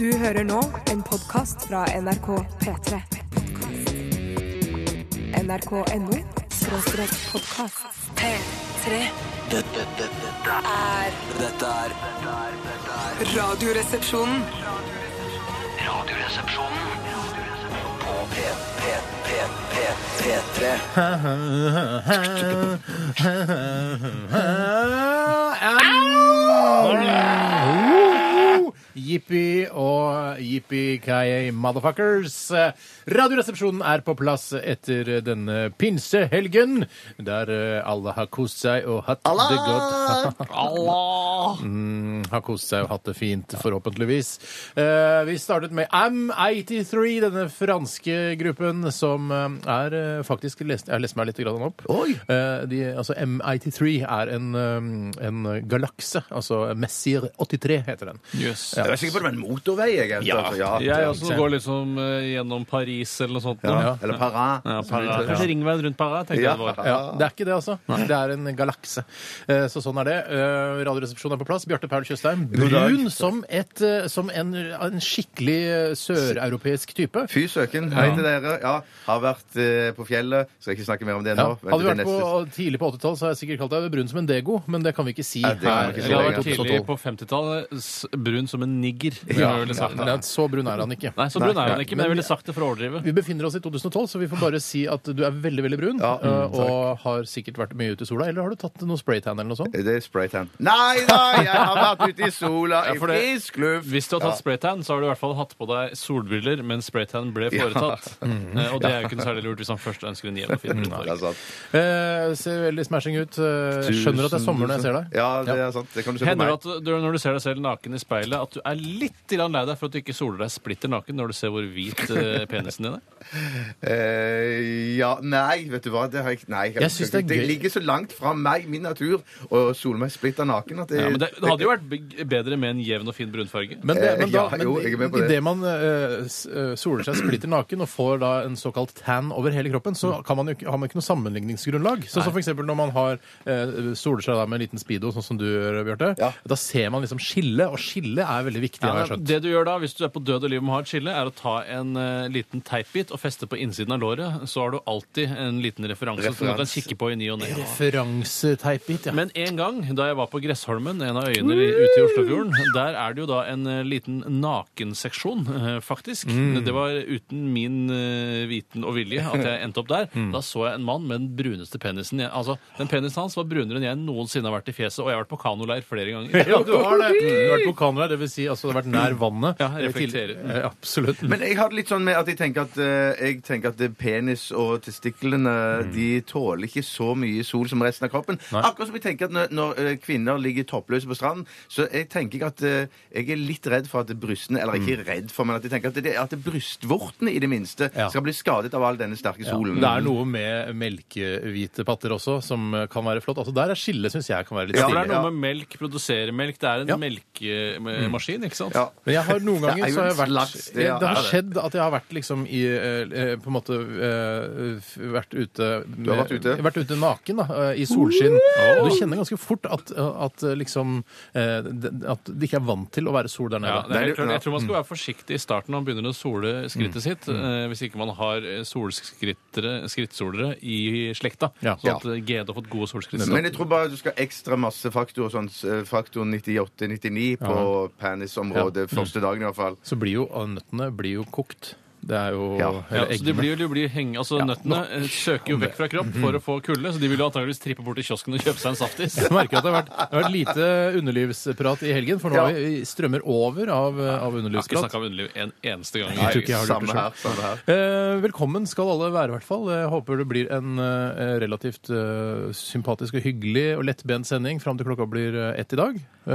Du hører nå en podkast fra NRK P3. NRK.no skråstrek podkast. P3 Dette, dette, dette, er dette er dette er- dette er Radioresepsjonen. Radioresepsjonen på P, P, P, P, P3. Uh, Jippi og jippi-kayay motherfuckers. Radioresepsjonen er på plass etter denne pinsehelgen, der eh, alle har kost seg og hatt det godt. Mm, har kost seg og hatt det fint, forhåpentligvis. Eh, vi startet med AM83, denne franske gruppen som eh, er eh, faktisk lest, Jeg har lest meg litt grann opp. Eh, de, altså M83 er en, eh, en galakse. Altså Messier 83 heter den. Jøss. Jeg er sikker på det var en motorvei. Jeg, helt, Ja. altså, ja. Jeg også går liksom eh, gjennom Paris eller noe sånt. nå. Ja. Eller para. Ja, Paris. Kanskje ringveien rundt Paris, tenkte Ja. jeg det var. Ja, Det er ikke det, altså. Det er en galakse. Eh, Så sånn er det. Eh, Radioresepsjonen er på plass. Bjarte Paul Tjøstheim. God dag. Brun som, et, eh, som en, en skikkelig eh, søreuropeisk type. Fy søken. Hei til dere. Ja, har vært eh, på fjellet. Skal ikke snakke mer om det Ja. nå. Vent Hadde vi til vært på eh, tidlig på 80-tall, så hadde jeg sikkert kalt deg brun som en dego, men det kan vi ikke si Nei, det kan vi ikke si Eller det her. var tidlig på 50-tallet. s- Brun som en nigger. som jeg ville sagt. Nei, så brun er han ikke. Nei, så brun er hun Nei. ikke, men jeg ville sagt det for å overdrive. Vi befinner oss i 2012, så vi får bare si at du er veldig veldig brun. Ja, Mm, eh, og har sikkert vært mye ute i sola. Eller har du tatt noe spraytan eller noe sånt? Det er spraytan. Nei da, jeg har vært ute i sola, i Ja, for det- frisk luft. Hvis du har tatt spraytan, så har du i hvert fall hatt på deg solbriller mens spraytan ble foretatt. Mhm. Eh, Og det er jo ikke noe særlig lurt hvis han først ønsker en jevn og fin Ja, det er hudfarge. sant. Eh, ser veldig smashing ut. Eh, skjønner at det er sommer når jeg ser deg. Ja, det er sant. Det kan du se på Hender det meg. at du, når du ser deg selv naken i speilet, at du er litt grann lei deg for at du ikke soler deg splitter naken når du ser hvor hvit eh, penisen din er? Eh, ja, nei, vet du hva. Det, har jeg, ikke- nei, jeg, Jeg synes det er gøy. ligger så langt fra meg, min natur, og soler meg splitter naken at det, Ja, men det, det hadde jo vært beg- bedre med en jevn og fin brunfarge. Eh, Men, det, Eh, men da, ja, men jo, jeg er med på det. idet man eh, s- eh, soler seg splitter naken og får da en såkalt tan over hele kroppen, så kan man jo, ikke- har man ikke noe sammenligningsgrunnlag. Sånn som for eksempel når man har eh, soler seg da med en liten speedo, sånn som du gjør, Bjarte. Ja. Da ser man liksom skille, og skille er veldig viktig. har jeg Ja, skjønt. det du gjør da, hvis du er på død og liv og har et skille, er å ta en eh, liten teipbit og feste på innsiden av låret. Så har du alltid en liten referanse som du kan Referans. kikke på i ny og ne. Referanseteipbit, ja. Men en gang, da jeg var på Gressholmen, en av øyene i- ute i Oslofjorden, der er det jo da en eh, liten nakenseksjon, eh, faktisk. Mm. Det var uten min eh, viten og vilje at jeg endte opp der. Mm. Da så jeg en mann med den bruneste penisen. Jeg, altså, den penisen hans var brunere enn jeg noensinne har vært i fjeset, og jeg har vært på kanoleir flere ganger. Ja, du har det. Du har vært på Canada, det vil si altså, det har vært nær vannet. Ja, reflekterer. Eh, Absolutt. Men jeg har det litt sånn med at jeg tenker at, eh, jeg tenker at det penis og testiklene Mm. De tåler ikke så mye sol som resten av kroppen. Akkurat som jeg tenker at når, når eh, kvinner ligger toppløse på stranden, så jeg tenker jeg at eh, jeg er litt redd for at brystene Eller ikke Mm. redd for, men at jeg tenker at, det, at brystvortene i det minste Ja. skal bli skadet av all denne sterke solen. Det er noe med melkehvite patter også som eh, kan være flott. Altså, der er skillet, syns jeg, kan være litt Ja, For stilig. det er noe med melk, produsere melk. Det er en Ja. melkemaskin, ikke sant? Ja. Men jeg har noen Det ganger er jo så har jeg en vært slags- det, det, ja. har Ja, det. skjedd at jeg har vært liksom i eh, eh, På en måte eh, f- vært ute med, Du har vært ute? Vært ute naken, da. eh, I solskinn. Og du kjenner ganske fort at, at eh, liksom eh, d- At de ikke er vant til å være sol der Ja, nede. det er helt Nei, klart. ja. Jeg tror man skal Mm. være forsiktig i starten når man begynner å sole skrittet sitt, eh, hvis ikke man har eh, solskrittere- skrittsolere i slekta. Ja. Sånn at eh, GD har fått gode solskritt. Men jeg tror bare du skal ha ekstra masse faktor, sånn eh, faktor 98-99 på penisområdet første dagen i hvert fall. Så blir jo og nøttene blir jo kokt. Det er jo Ja. Ja, Eller så de eggene. blir, de blir heng, altså Nøttene eh, søker jo vekk fra kropp for å få kulde, så de vil jo antageligvis trippe bort til kiosken og kjøpe seg en saftis. Jeg merker at det har vært, det har vært lite underlivsprat i helgen, for nå har vi strømmer over av, eh, av Jeg har ikke underlivsprat. snakka om underliv en eneste gang. tror ikke jeg har lurt det samme her, samme her. Eh, velkommen skal alle være, i hvert fall. Jeg håper det blir en eh, relativt eh, sympatisk og hyggelig og lettbent sending fram til klokka blir eh, ett i dag. Eh,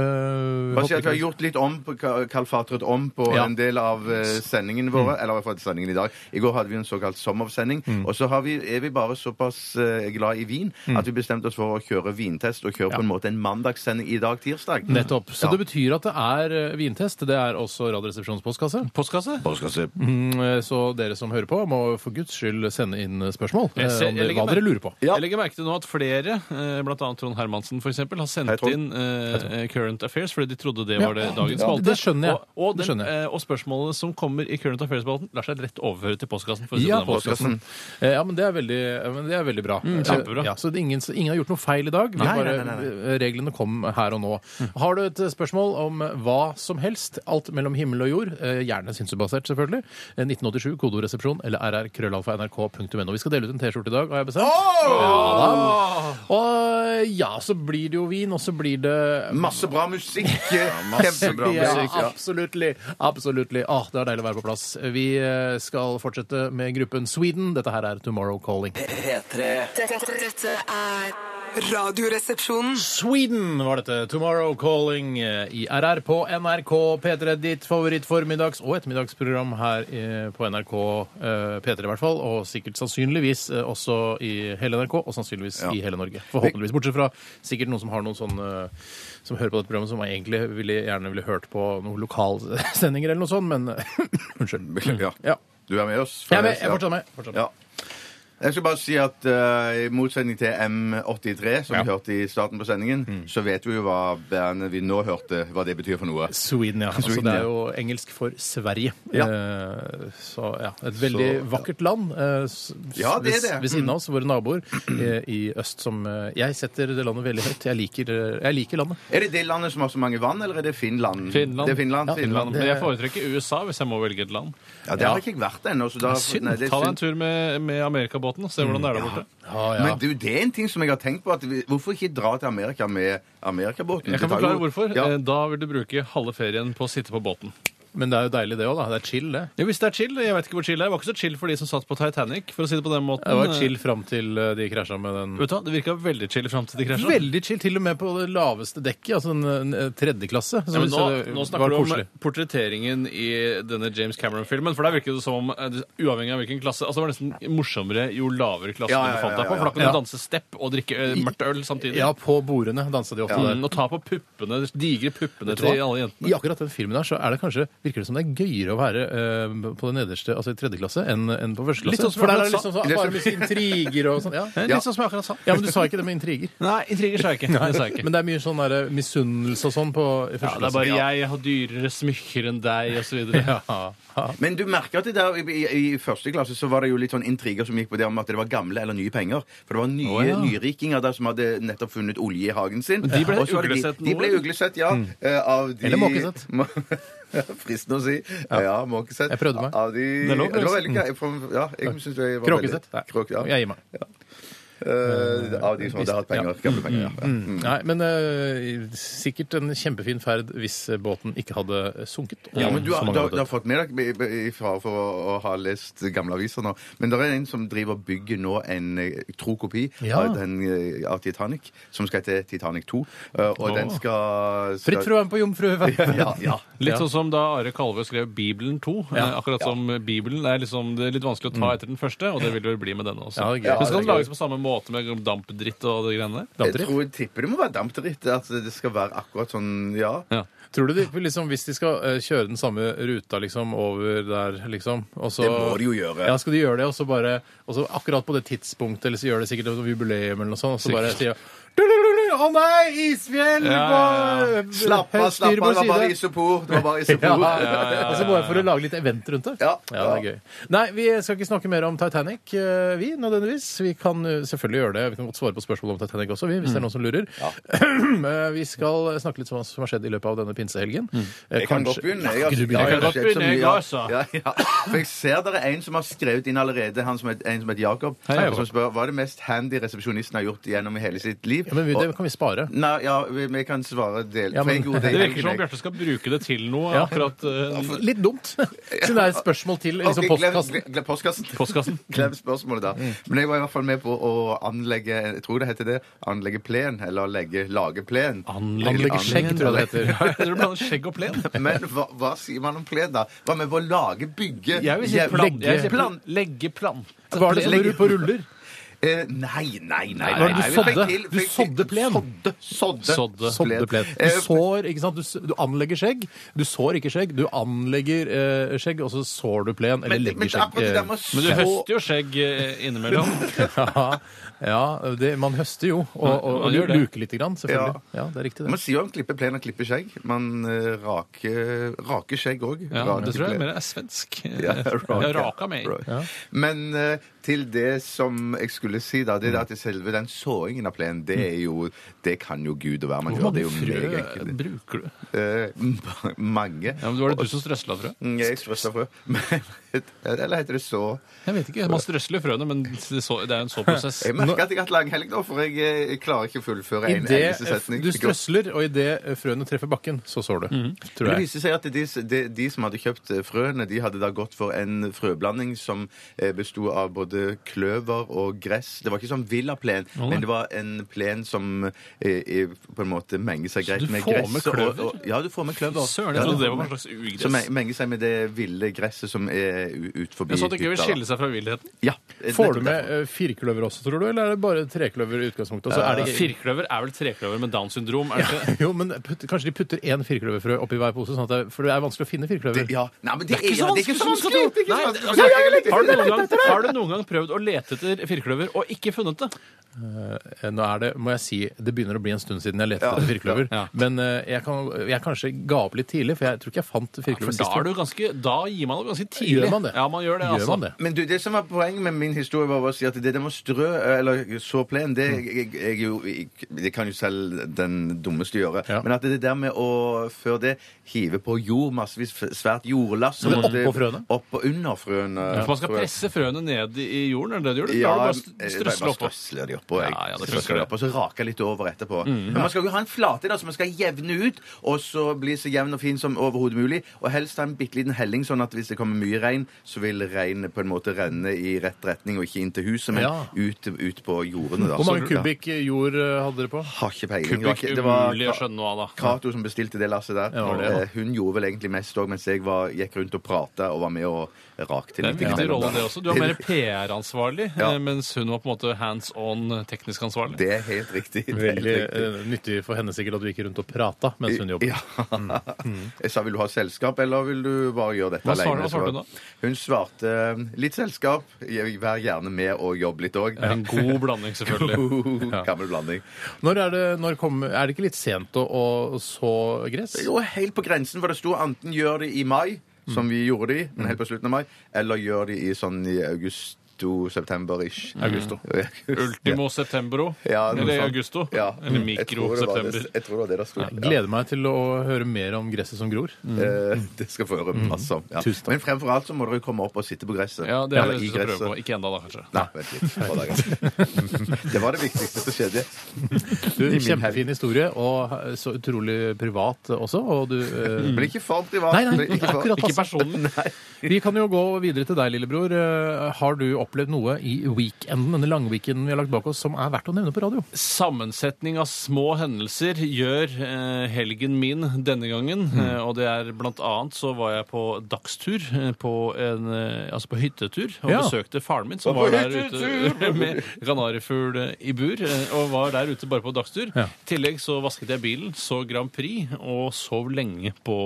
Bare si håper at vi har ikke- gjort litt om på Kalfatret om på Ja. Mm. en del av eh, sendingene våre. Eller i hvert fall av sendingen i dag. I går hadde vi en såkalt sommersending. Og så har vi, er vi bare såpass eh, glad i vin Mm. at vi bestemte oss for å kjøre vintest, og kjøre på en måte en mandagssending i dag, tirsdag. Mm. Nettopp. Så Ja. det betyr at det er eh, vintest. Det er også Radioresepsjonens postkasse. Postkasse? Mm, eh, Så dere som hører på, må for guds skyld sende inn spørsmål. Jeg ser- eh, om dere- jeg legger Hva merke- dere lurer på. Ja. Jeg legger merke til nå at flere, eh, blant annet Trond Hermansen for eksempel, har sendt Hei, Trond. inn eh, Current Affairs fordi de trodde det Ja. var det dagens Ja, spalte. det skjønner jeg. Og, og, Det den, skjønner jeg. eh, og spørsmålene som kommer i Current Affairs-spalten, lar seg rett overføre til postkassen. For å si Ja, det på den postkassen. måten. Eh, Ja, men det er veldig, eh, men det er veldig bra. kjempebra. Eh, Ja, så det er ingen, så ingen har gjort noe feil i dag. Vi Mm, Nei, bare, nei, nei, eh, Reglene kom her og nå. Har du et eh, spørsmål om eh, hva som helst, alt mellom himmel og jord, eh, gjerne synsebasert selvfølgelig, eh, 1987, kodoresepsjon eller rrkrøllalfa.nrk.no. Vi skal dele ut en T-skjorte i dag, har jeg bestemt. Ja, da. og ja, så blir det jo vin, og så blir det Masse bra musikk! eh, Kjempebra ja, musikk. Ja. absolutely. absolutely. Ah, det er deilig å være på plass. Vi eh, skal fortsette med gruppen Sweden. Dette her er Tomorrow Calling. P3 Dette, dette er Radioresepsjonen. Sweden var dette. Tomorrow Calling eh, i RR på NRK P3. Ditt favorittformiddags- og ettermiddagsprogram her eh, på NRK eh, P3 i hvert fall. Og sikkert sannsynligvis eh, også i hele NRK, og sannsynligvis i hele Norge. Forhåpentligvis. Bortsett fra sikkert noen som har noen sånn eh, som hører på dette programmet, som egentlig ville, gjerne ville hørt på noen lokalsendinger eller noe sånt, men Unnskyld. Ja. Ja. Du er med oss? Jeg er med. Jeg fortsetter med. Fortsetter med. Ja. Jeg skal bare si at eh, i motsetning til M83, som vi hørte i starten på sendingen, Mm. så vet vi jo hva bandet vi nå hørte, hva det betyr for noe. Sweden, ja. Altså, Sweden, det ja. er jo engelsk for Sverige. Ja. Eh, så ja, et veldig Så, ja. vakkert land. eh, s- Ja, det er det. Mm. Ved, ved siden av oss, våre naboer eh, i øst, som eh, Jeg setter det landet veldig høyt. Jeg liker, eh, jeg liker landet. Er det det landet som har så mange vann, eller er det Finland? Finland. Det er Finland. Ja, Finland. Men jeg foretrekker USA hvis jeg må velge et land. Ja, det har jeg ikke vært ennå. så da- Synd. Mm, Nei, det er Ta deg en synd. tur med, med Amerikabåten og se hvordan det er der borte. Ja, ja. Men du, det er en ting som jeg har tenkt på. At vi, hvorfor ikke dra til Amerika med Amerikabåten? Jeg Det kan tar jo- forklare hvorfor. Ja. Eh, Da vil du bruke halve ferien på å sitte på båten. Men det er jo deilig, det òg, da. Det er chill, det. Jo, hvis det er chill, jeg vet ikke hvor chill det er. Det var ikke så chill for de som satt på Titanic, for å si det på den måten. Det var chill fram til eh, de krasja med den Vet du hva, det virka veldig chill fram til de krasja. Veldig chill, til og med på det laveste dekket, altså en, en eh, tredje klasse. Så Ja, men nå, det nå var snakker du om koselig. portretteringen i denne James Cameron-filmen. For der virker det som om, eh, det- uavhengig av hvilken klasse altså Det var nesten morsommere jo lavere klasse Ja, ja, du befant deg ja, ja, på. For da kunne ja. du danse stepp og drikke eh, mørkt øl samtidig. Ja, på bordene dansa de ofte der. Mm, og ta på puppene, de digre puppene til Vet du hva? alle jentene. I akkurat den filmen der så er det kanskje, virker det som det er gøyere å være eh, på det nederste, altså i tredje klasse, enn enn på første klasse. Litt sånn som For der er det jeg liksom sånn, sa. bare mye intriger og sånn. Ja. Ja. Litt sånn som jeg akkurat sa. ja, men du sa ikke det med intriger. Nei, intriger sa jeg ikke. Det sa jeg ikke. Men det er mye sånn der, misunnelse og sånn på i ja, første det er klasse. bare jeg har dyrere smykker enn deg, og så videre. Men du merker at det der, i, i, i første klasse så var det jo litt sånn intriger som gikk på det om at det var gamle eller nye penger. For det var nye Å, ja. nyrikinger der som hadde nettopp funnet olje i hagen sin. de ble Og så var det uglesett nå, De, de ble eller? uglesett, ja. eh, Av de, Eller måkesett. Må- Fristende å si. Ja, måkesett. Jeg prøvde meg. Av de, Det er det, lov, var veldig gøy. For- Ja, jeg synes det var Kråkesett. veldig- Kråk, ja. Jeg gir meg. Eh, av de som hadde hatt penger. Gamle penger, ja. ja. Nei, men eh, sikkert en kjempefin ferd hvis båten ikke hadde sunket. Ja, men du Så har, mange du, har, hadde du har fått med deg, i- i- i fare for å, å ha lest gamle aviser nå, men det er en som driver og bygger nå en eh, tro kopi Ja. av, den, eh, av Titanic, som skal hete Titanic 2, eh, og den skal, skal Fritt fra å være med på Jomfruøyveipen. Ja, ja. Litt Ja. sånn som da Are Kalve skrev Bibelen 2. eh, Akkurat som Bibelen er liksom, det er litt vanskelig å ta etter den første, og det vil det vel bli med denne også. Mm. Ja, det er gøy. Men Ja, skal det den er lages på samme måte med dampdritt og det greiene der? Jeg tror, jeg tipper det må være dampdritt, at det skal være akkurat sånn, ja. Ja. Tror du de, liksom, Hvis de skal eh, kjøre den samme ruta liksom, over der, liksom og så, Det må de jo gjøre. Ja, skal de gjøre det, og så bare og så Akkurat på det tidspunktet, eller så gjør det sikkert et jubileum eller noe sånt, og så bare sier de, Å nei, isfjell! Ja, ja, ja. på- Slapp av, høyt slapp av, det styrbord var bare side. isopor, det var bare Ja, isopor. Og så Altså, bare for å lage litt event rundt det. Ja. det er gøy. Nei, vi skal ikke snakke mer om Titanic, eh, vi, nødvendigvis. Vi kan eh, selvfølgelig gjøre det. Vi kan godt svare på spørsmål om Titanic også, vi, hvis Mm. det er noen som lurer. Eh, vi skal snakke litt om hva som har skjedd i løpet av denne pinsehelgen. Eh, Mm. Jeg kan kanskje- godt begynne. Ja, altså. du begynner. Ja, Jeg har kan godt sett så begynne, jeg mye, ja. også. Ja, ja. For jeg ser dere er en som har skrevet inn allerede, han som het, en som het Jakob, Hei, Jakob. som spør hva er det mest handy resepsjonisten har gjort gjennom hele sitt liv. liv. Ja, men vi, Og- det kan vi spare. Nei, ja, vi, vi kan svare del. Ja, for men- jeg gjorde Det i virker som om tillegg. Bjarte skal bruke det til noe. Ja. Akkurat eh, Litt dumt. Siden det er et spørsmål til liksom Ok, postkassen. Mm. glem- glem postkassen. postkassen. Glem spørsmålet, da. Men jeg var i hvert fall med på å anlegge jeg tror det heter det, anlegge plen, eller legge, lage plen. Anlegge skjegg, tror jeg det heter. Jeg tror du blander skjegg og plen. Men hva, hva sier man om plen, da? Hva med å lage, bygge Jeg vil si jevn- plan. Jeg vil si Plan- plan. Legge plan. Var det sånn på ruller? Eh, nei, nei, nei. Hva er det du nei, vi fikk sådde? til- Du fikk til- sådde plen. Sådde. Sådde. Sådde. Sådde plen. Eh, Sånn, Du sår, ikke sant? Du, s- du anlegger skjegg. Du sår ikke skjegg. Du anlegger eh, skjegg, og så sår du plen, eller Men, men legger akkurat det skjegg. der eh, med å Men du så- høster jo skjegg eh, innimellom. ja, ja det, man høster jo, og, og, Man og gjør det. luker lite grann, selvfølgelig. Ja. det er riktig, Man det. sier jo om klippe plen og klippe skjegg. Man eh, rake, rake skjegg òg. Ja, det tror jeg mer er svensk. Ja, Jeg raka meg. Right. Men eh, til det som jeg skulle si, da, det er at selve den såingen av plenen, det er jo Det kan jo gud og hver man Hvor gjør. Det mange er jo frø meget enkelt. bruker du? Eh, mange. Ja, men Var det du som strøsla frø? Mm, Jeg strøsser frø. Eller heter det så? Jeg vet ikke. Man strøsler frøene, men det så- det er jo en sånn såprosess. Jeg merker at jeg har hatt lang helg nå, for jeg, eh, jeg klarer ikke å fullføre en eneste Idet setning. du strøsler, og idet frøene treffer bakken, så sår du. Mhm. Tror Men det jeg. viste seg at de, de, de som hadde kjøpt eh, frøene, de hadde da gått for en frøblanding som eh, besto av både kløver og gress. Det var ikke sånn villaplen, nei. men det var en plen som eh, eh, på en måte menger seg greit du med får gress. med og- kløver? og- Ja, du får med kløver. Søren, Ja, jeg du trodde det får var med- en slags Som ugress. me- menger seg med det ville gresset som er u- ut forbi Men sånn at det ikke vil hytta, da. skille seg fra villheten. Ja. Får nettopp du derfor. med eh, firkløver også, tror du, eller er det bare trekløver i utgangspunktet? Og så er det Firkløver er vel trekløver med Downs syndrom? Er det ikke? Jo, men putt, kanskje de putter én firkløverfrø oppi hver pose, sånn at det, for det er vanskelig å finne firkløver. Det- Ja. Nei, men det, Det er ikke så ja, det er ikke vanskelig! så som man skal tro. vanskelig! Det er ikke så Nei, vanskelig. altså, har, du noen gang, har du noen gang prøvd å lete etter firkløver og ikke funnet det? Eh, Nå er det, må jeg si, det begynner å bli en stund siden jeg lette Ja. etter firkløver. Ja. Men eh, jeg, kan, jeg kanskje ga opp litt tidlig, for jeg tror ikke jeg fant For firkløver da, sist. er du ganske, da gir man opp ganske tidlig. Gjør man det? Ja, man gjør det. Gjør altså. man det? Men du, det som var poenget med min historie, var å si at det der med å strø eh, eller så plen, Mm. det, jeg, jeg, jo- jeg, det kan jo selv den dummeste gjøre. Ja. Men at det der med å før det hive på jord, massevis f- svært jordlass Men og det- oppå frøene? Opp og under frøene. For man skal tror jeg. presse frøene ned i i jorden, er det det du gjør? Ja, Eller jeg- bare jeg strøsle bare oppå? strøsler de oppå. Jeg. Ja, ja, Mm, det strøsler de funker, det. oppå, så raker jeg litt over etterpå. Men man skal jo ha en flate da, som man skal jevne ut, og så bli så jevn og fin som overhodet mulig. Og helst ha en bitte liten helling, sånn at hvis det kommer mye regn, så vil regnet på en måte renne i rett retning, og ikke inn til huset, men Ja. ut, ut på jordene. Da. Hvor mange Så- kubikk jord eh, hadde dere på? Ja. Har ikke peiling. Det var Kubikk ikke- det var- umulig å skjønne noe av, da. Cato som bestilte det lasset der. Ja, det var det. Eh, Hun gjorde vel egentlig mest òg, mens jeg var, gikk rundt og prata og var med og rakte Det er litt. en viktig innimellom, rolle, da. det også. Du er mer PR-ansvarlig, Ja. eh, mens hun var på en måte hands on teknisk ansvarlig. Det er helt riktig. Det er helt Veldig riktig. eh, nyttig for henne sikkert at du gikk rundt og prata mens hun jobbet. Ja. Jeg sa vil du ha selskap, eller vil du bare gjøre dette Mm. Hva alene? svarer- hva svarte hun da? Hun svarte eh, litt selskap, jeg- vær gjerne med og jobb litt òg. En god blanding, selvfølgelig. Gammel blanding. Når er, det, når kommer- er det ikke litt sent å, å så gress? Jo, helt på grensen, for det sto enten gjør det i mai, som vi gjorde det i, Mm. men helt på slutten av mai, eller gjør det i sånn i august. September-ish. Augusto. Mm. Ultimo septembro. Ja, noe eller sånt. augusto. Ja. Eller Jeg tror mikro det var det- september. Jeg tror det var det det sto. Ja. Gleder meg til å høre mer om gresset som gror. Eh, Det skal få høre masse om. Ja. Tusen takk. Men fremfor alt så må dere komme opp og sitte på gresset. Ja, det er Eller i det du skal prøve gresset. på. Ikke ennå, da, kanskje. Nei, vent litt. Hold deg rett. Det var det viktigste som skjedde. Du, min kjempefin historie, og eh, så utrolig privat også. Og du, eh, Men ikke for privat. Nei, nei, Blir ikke for- akkurat Ikke passe. personen. Vi kan jo gå videre til deg, lillebror. Eh, Har du opplevd noe i weekenden, denne langweekenden vi har lagt bak oss, som er verdt å nevne på radio? Sammensetning av små hendelser gjør eh, helgen min denne gangen. Mm. Eh, og det er blant annet så var jeg på dagstur, eh, på en, eh, altså på hyttetur, og Ja. besøkte faren min, som Og på var der hyttetur! ute med kanarifugl eh, i bur. Eh, og var der ute bare på dagstur. Ja. I tillegg så vasket jeg bilen, så Grand Prix, og sov lenge på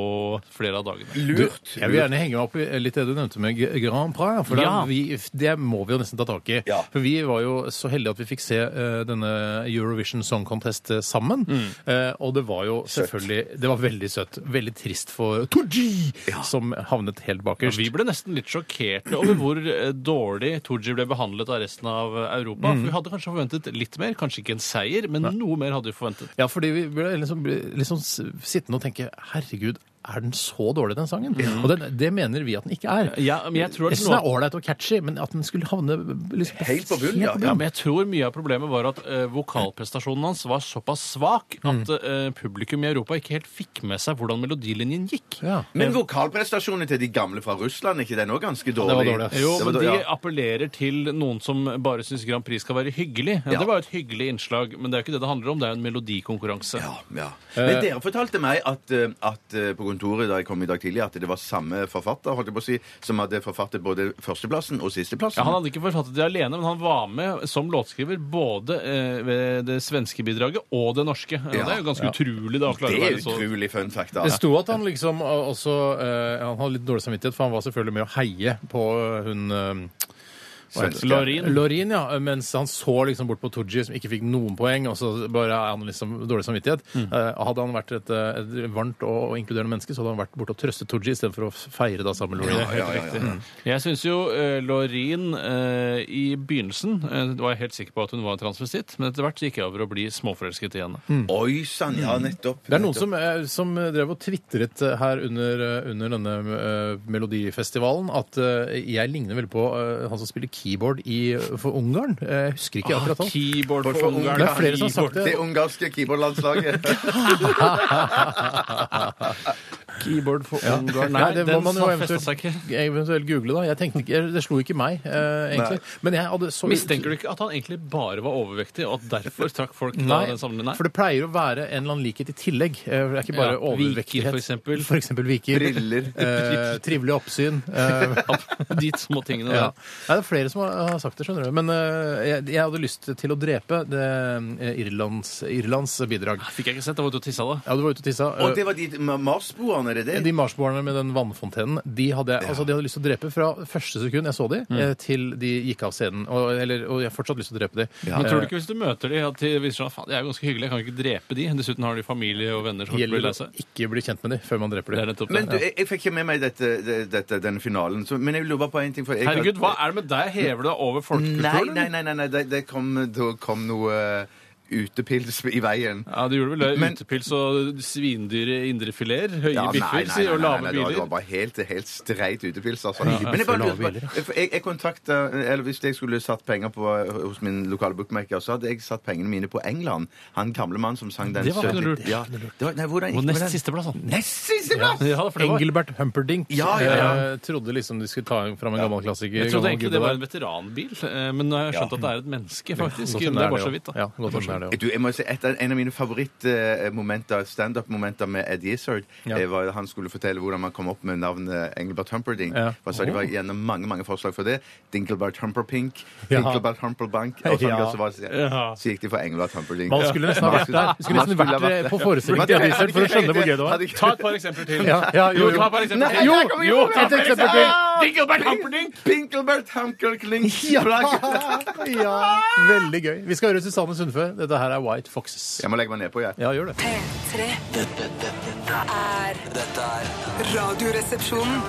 flere av dagene. Lurt. Jeg vil gjerne henge meg opp i litt det du nevnte med G- Grand Prix. For Ja. da vi, det må vi jo nesten ta tak i. Ja. For vi var jo så heldige at vi fikk se eh, denne Eurovision Song Contest eh, sammen. Mm. Eh, og det var jo selvfølgelig Det var veldig søtt. Veldig trist for Tooji, som havnet helt Ja, bakerst. Vi ble nesten litt sjokkerte over hvor eh, dårlig Tooji ble behandlet av resten av eh, Europa. For vi hadde kanskje forventet litt mer, kanskje ikke en seier, men noe mer hadde vi forventet. Ja, fordi vi ble liksom, ble liksom s- sittende og tenke Herregud, er den så dårlig, den sangen? Og den, det mener vi at den ikke er. Ja, men jeg tror at Resten noe- er ålreit og catchy, men at den skulle havne liksom, Helt på bunnen, ja. Ja, men jeg tror mye av problemet var at eh, vokalprestasjonen hans var såpass svak at eh, publikum i Europa ikke helt fikk med seg hvordan melodilinjen gikk. Ja. Men vokalprestasjonene til de gamle fra Russland, er ikke den òg ganske var dårlig? dårlig, ass. Jo, Det var men de dårlig, ja. appellerer til noen som bare syns Grand Prix skal være hyggelig. Ja, Ja. Det var jo et hyggelig innslag, men det er jo ikke det det handler om. Det er jo en melodikonkurranse. Ja, ja. Eh. Men dere fortalte meg at, eh, at eh, på kontoret da jeg kom i dag tidlig, at det var samme forfatter holdt jeg på å si, som hadde forfattet både førsteplassen og sisteplassen. Ja, han hadde ikke forfattet det alene, men han var med som låtskriver både eh, ved det svenske bidraget og det norske. Ja. Ja. Det er jo ganske utrolig. da å klare det å er være så- utrolig fun fact. da. Det sto at han liksom eh, også eh, Han hadde litt dårlig samvittighet, for han var selvfølgelig med å heie på eh, hun eh, hva heter det? Svenske. Lorin. Lorin, ja. eh, Mens han så liksom bort på Tooji, som ikke fikk noen poeng, og så bare er han liksom dårlig samvittighet. Mm. Eh, hadde han vært et, eh, et varmt og, og inkluderende menneske, så hadde han vært borte og trøstet Tooji istedenfor å feire da sammen med Lorin. Ja, ja, Mm. ja, ja. Jeg syns jo eh, Lorin eh, i begynnelsen eh, var jeg helt sikker på at hun var transvestitt, men etter hvert så gikk jeg over å bli småforelsket i henne. Oi sann, ja, nettopp. Mm. Det er noen nettopp. som, eh, som drev og tvitret eh, her under, eh, under denne eh, melodifestivalen at eh, jeg ligner veldig på eh, han som spiller keyboard i, for Ungarn. Eh, Jeg husker Ah, ikke akkurat han. Keyboard For- for, for Ungarn. Ungarn. Det er flere som har sagt Det ungarske keyboardlandslaget. Keyboard for Ungarn. Nei, Nei, det må den man jo festa seg eventuelt, ikke. eventuelt google, da. Jeg tenkte ikke, Det slo ikke meg, eh, egentlig. Men jeg hadde så Mistenker du ikke at han egentlig bare var overvektig, og at derfor trakk folk fra Nei, den samlingen? for det pleier å være en eller annen likhet i tillegg. Eh, Det er ikke bare Ja, overvektighet. viker, for eksempel. For eksempel viker. Briller. Eh, trivelig oppsyn. Eh, De små tingene Ja. der. Nei, det er flere som har har sagt det, skjønner du. Men eh, jeg, jeg hadde lyst til å drepe det, eh, Irlands, Irlands bidrag. Fikk jeg ikke sett, jeg var ute og tissa da. Ja, du var ute og tissa. Eh, Eh, Og det var de ma- marsboerne, er det det? de marsboerne med den vannfontenen, de hadde, jeg- altså, de hadde lyst til å drepe fra første sekund jeg så de, Mm. eh, til de gikk av scenen. Og, eller, og jeg har fortsatt lyst til å drepe de. Men tror du ikke hvis du møter de, at de viser sånn, faen, de er jo ganske hyggelige, jeg kan ikke drepe de. Dessuten har de familie og venner som Det kommer til å bli gjelder lei å seg. ikke bli kjent med de før man dreper Det er de. nettopp Men du, det. jeg, jeg fikk ikke med meg dette, det- dette, denne finalen, så, men jeg lurer bare på en ting. For jeg, Herregud, hva er det med deg? Hever du deg over Nei, folkekulturen? nei, nei, nei, nei det, det kom, da kom noe eh, utepils i veien. Ja, du gjorde vel det. Men- Utepils og svindyre indrefilter, høye Ja, nei, nei, biffer nei, sier, og nei, lave nei, det var- Det var biler. bare helt, helt streit utepils, altså. Men jeg bare lurer lave biler, på for Jeg, jeg kontakta Eller hvis jeg skulle satt penger på hos min lokale bookmaker, så hadde jeg satt pengene mine på England. Han gamle mannen som sang den Det var ikke søte- noe lurt. Ja, det var, nei, hvordan gikk det Og med nest den? siste plass, da. Nest siste plass! Ja, for det var... Engelbert Humperdinck Ja, ja, ja. eh, trodde liksom de skulle ta fram en gammel klassiker. Jeg trodde gammel egentlig det gudevær. var en veteranbil, eh, men nå har jeg skjønt at det er et menneske, sånn faktisk. Godt Det om er Sånn det bare så også. vidt, da. Ja, godt om det sånn er det også. Du, jeg må si, et, av- En av mine favorittmomenter, standup-momenter med Ed Gizzard, Ja. eh, var han skulle fortelle hvordan man kom opp med navnet Engelbert Humperdinck. Ja. Oh. For så Det var gjennom mange mange forslag for det. Dinkelbert Humperpink, Ja. Dinkelbert Humperbank og sånn, Ja. og så, var, Ja. så gikk de for Engelbert Humperdinck. Man skulle nesten ha vært der. Vi skulle Man nesten skulle vært ha vært eh, på der. forestillingen til Ed Izzard for å skjønne hvor gøy det var. Hadde ikke- Ta et par eksempler til. Ja, ja, jo, ta jo. et par eksempler Nei, til. der kommer vi jo, på et det. eksempel til. Ah! Dinkelbert Humperdinck! Pinkelbert Humperklink! Ja, veldig gøy. Vi skal høre Susanne Sundfø. Dette her er White Foxes. Jeg må legge meg nedpå, jeg. Ja, gjør det. P3 Dette, dette er er Dette er Radioresepsjonen.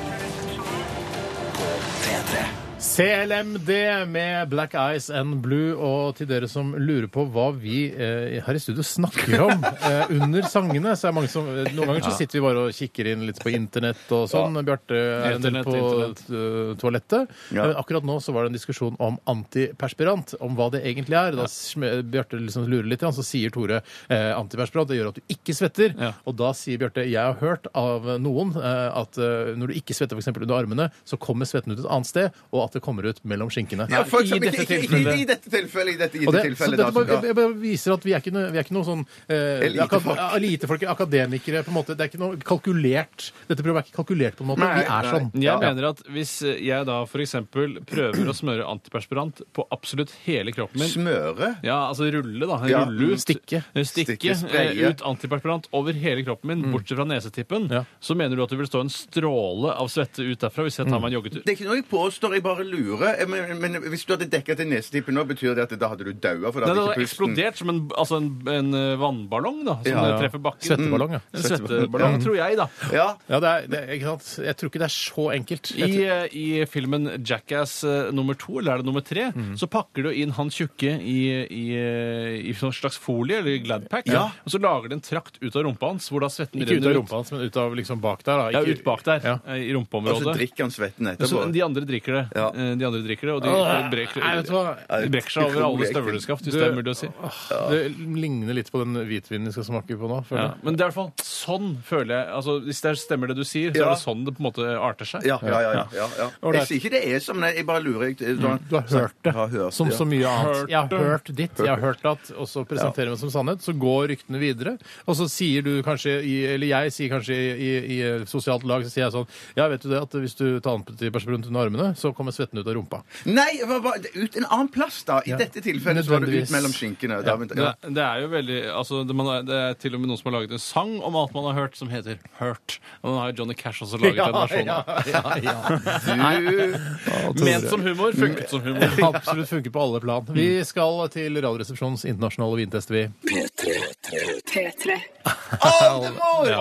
P3 CLMD med Black Eyes and Blue. Og til dere som lurer på hva vi eh, her i studio snakker om eh, under sangene, så er det mange som Noen ganger så sitter vi bare og kikker inn litt på internett og sånn. Bjarte er en del Internett, på internett. eh, toalettet. Ja. Men akkurat nå så var det en diskusjon om antiperspirant, om hva det egentlig er. Da sm- Bjarte liksom lurer litt, så sier Tore eh, antiperspirant, det gjør at du ikke svetter. Ja. Og da sier Bjarte jeg har hørt av noen eh, at eh, når du ikke svetter f.eks. under armene, så kommer svetten ut et annet sted, og at det kommer ut mellom skinkene. Ja, for i eksempel, dette ikke- ikke- Ikke tilfellet. i dette tilfellet. I dette gitte Og det, så tilfellet. dette da, bare, ja. jeg bare viser at vi er ikke noe, vi er ikke noe sånn eh, Elitefolk. akad- ja, elitefolk, akademikere, på en måte. Det er ikke noe kalkulert. Dette programmet er ikke kalkulert på en måte. Nei, vi er nei. sånn. Jeg mener at hvis jeg da f.eks. prøver å smøre antiperspirant på absolutt hele kroppen min Smøre? ja, altså rulle, da. Ja, Rulle ut, stikke. eh, stikke, Stikke, Mm. spraye. eh, ut antiperspirant over hele kroppen min, bortsett fra nesetippen. Ja. Mm. Så mener du at det vil stå en stråle av svette ut derfra hvis jeg tar meg en joggetur? Det er ikke noe jeg påstår. Jeg bare bare lurer. Eh, Men, men hvis du hadde dekket til nesetippen nå, betyr det at da hadde du daua? For da Den hadde hadde ikke pusten eksplodert som en, altså en, en eh, vannballong da, som Ja. eh, treffer bakken. Svetteballong, ja. En svetteballong, tror jeg, da. Ja. Ja, det er, det, er- ikke sant? Jeg tror ikke det er så enkelt. Jeg I, eh, I filmen Jackass eh, nummer to, eller er det nummer tre, Mhm. så pakker du inn han tjukke i, i, eh, i sånn slags folie, eller Gladpack, Ja. og så lager de en trakt ut av rumpa hans, hvor da svetten tror- ikke ut av renner rumpa hans, men ut av liksom bak der. Da. Ja, Ikke- ut bak der, Ja. Altså, eh, Og i så rumpeområdet. drikker han svetten Så etterpå. de andre drikker det. Ja. Eh, De andre drikker det, Og de Åh, brekker, nei, vet du hva? de brekker seg over alle støvleskaft, hvis Du- det er mulig å si. Det ligner litt på den hvitvinen vi skal smake på nå. Ja, føler jeg. men det er i hvert fall sånn, føler jeg. Altså, hvis det er- stemmer det du sier, så Ja. er det sånn det på en måte arter seg. Ja, ja, ja. ja, ja, ja. Jeg sier ikke det er som, nei, jeg bare lurer. Jeg, sånn- Du har hørt det, Jeg har hørt, som ja. så mye annet. Hørt jeg har det. hørt ditt, jeg har hørt at, og så presenterer vi det som sannhet. Så går ryktene videre, og så sier du kanskje, i, eller jeg sier kanskje i, i, i et sosialt lag, så sier jeg sånn Ja, vet du det, at hvis du tar antiperspiranten rundt under armene, så kommer svetten ut av rumpa. Nei, det var bare ut en annen plass, da. I dette tilfellet så var det Nødvendigvis. ut mellom skinkene. Da, vent- Det, ja. det er jo veldig altså, det, man, er- det er til og med noen som har laget en sang om alt man har hørt, som heter Hurt. Og den har jo Johnny Cash også laget en versjon av. ja, ja. Ment som humor, funket som humor. Absolutt funker på alle plan. Vi skal til Radioresepsjonens internasjonale vintest, vi. P3.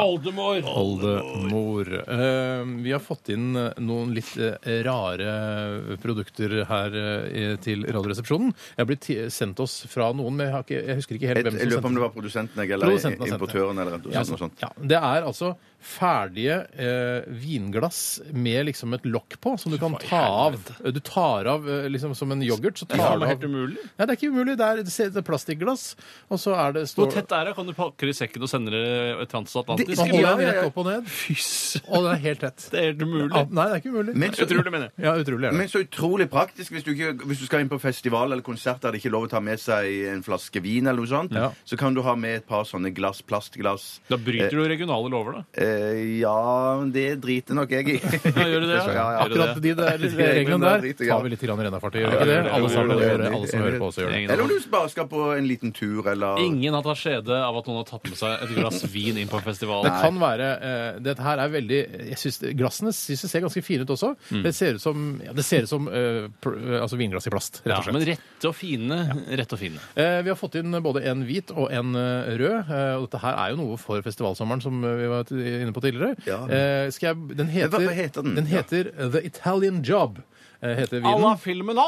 Oldemor! Oldemor. Eh, vi har fått inn eh, noen litt eh, rare produkter her eh, til Radioresepsjonen. Jeg har blitt ti- sendt oss fra noen, men jeg, har ikke, jeg husker ikke Jeg helt hvem jeg som lurer på om det sendte var sånn, produsenten jeg, eller Produsenten har sendt det. importøren eller Ja, noe sånt. ja, det er altså ferdige eh, vinglass med liksom et lokk på, som du kan ta av. Du tar av eh, liksom som en yoghurt. Så tar Ja, du men av. helt umulig. Nei, det er ikke umulig. Det er, det ser- det er plastikkglass, og så er det Hvor står, tett er det? Kan du pakke det i sekken og sende det transatlantisk? Man holder Ja, den ja, ja. rett opp og ned, og det er helt tett. Det er helt umulig. Ja, nei, det er ikke umulig. Men så, Utrolig, mener jeg. Ja, utrolig er det. men så utrolig praktisk hvis du, ikke, hvis du skal inn på festival eller konsert der det ikke er lov å ta med seg en flaske vin, eller noe sånt, Ja. så kan du ha med et par sånne glass, plastglass. Da bryter du regionale lover, da. Eh, ja, det driter nok jeg i. Ja, gjør du det? Ja, ja. Gjør du Akkurat det? de der reglene der der driter jeg. tar vi litt grann rennafart i. Gjør vi ikke det? gjør det. Alle sammen Gjør det. gjør det. Alle som hører på, også gjør det. Ingen Eller av om du bare skal på en liten tur, eller Ingen har tatt skjede av at noen har tatt med seg et glass vin inn på en festival. Det kan være eh, Dette her er veldig jeg synes, Glassene synes jeg ser ganske fine ut også. Det ser ut som, ja, det ser ut som eh, pr altså vinglass i plast, rett Ja, og slett. men rette og fine. Rette og fine. Eh, Vi har fått inn både en hvit og en eh, rød. eh, Og dette her er jo noe for festivalsommeren, som eh, vi var t- inne på tidligere. Ja. Eh, Skal jeg, den heter, Hva- hva heter den? Ja. heter The Italian Job. eh, Heter Alla vinen. filmen!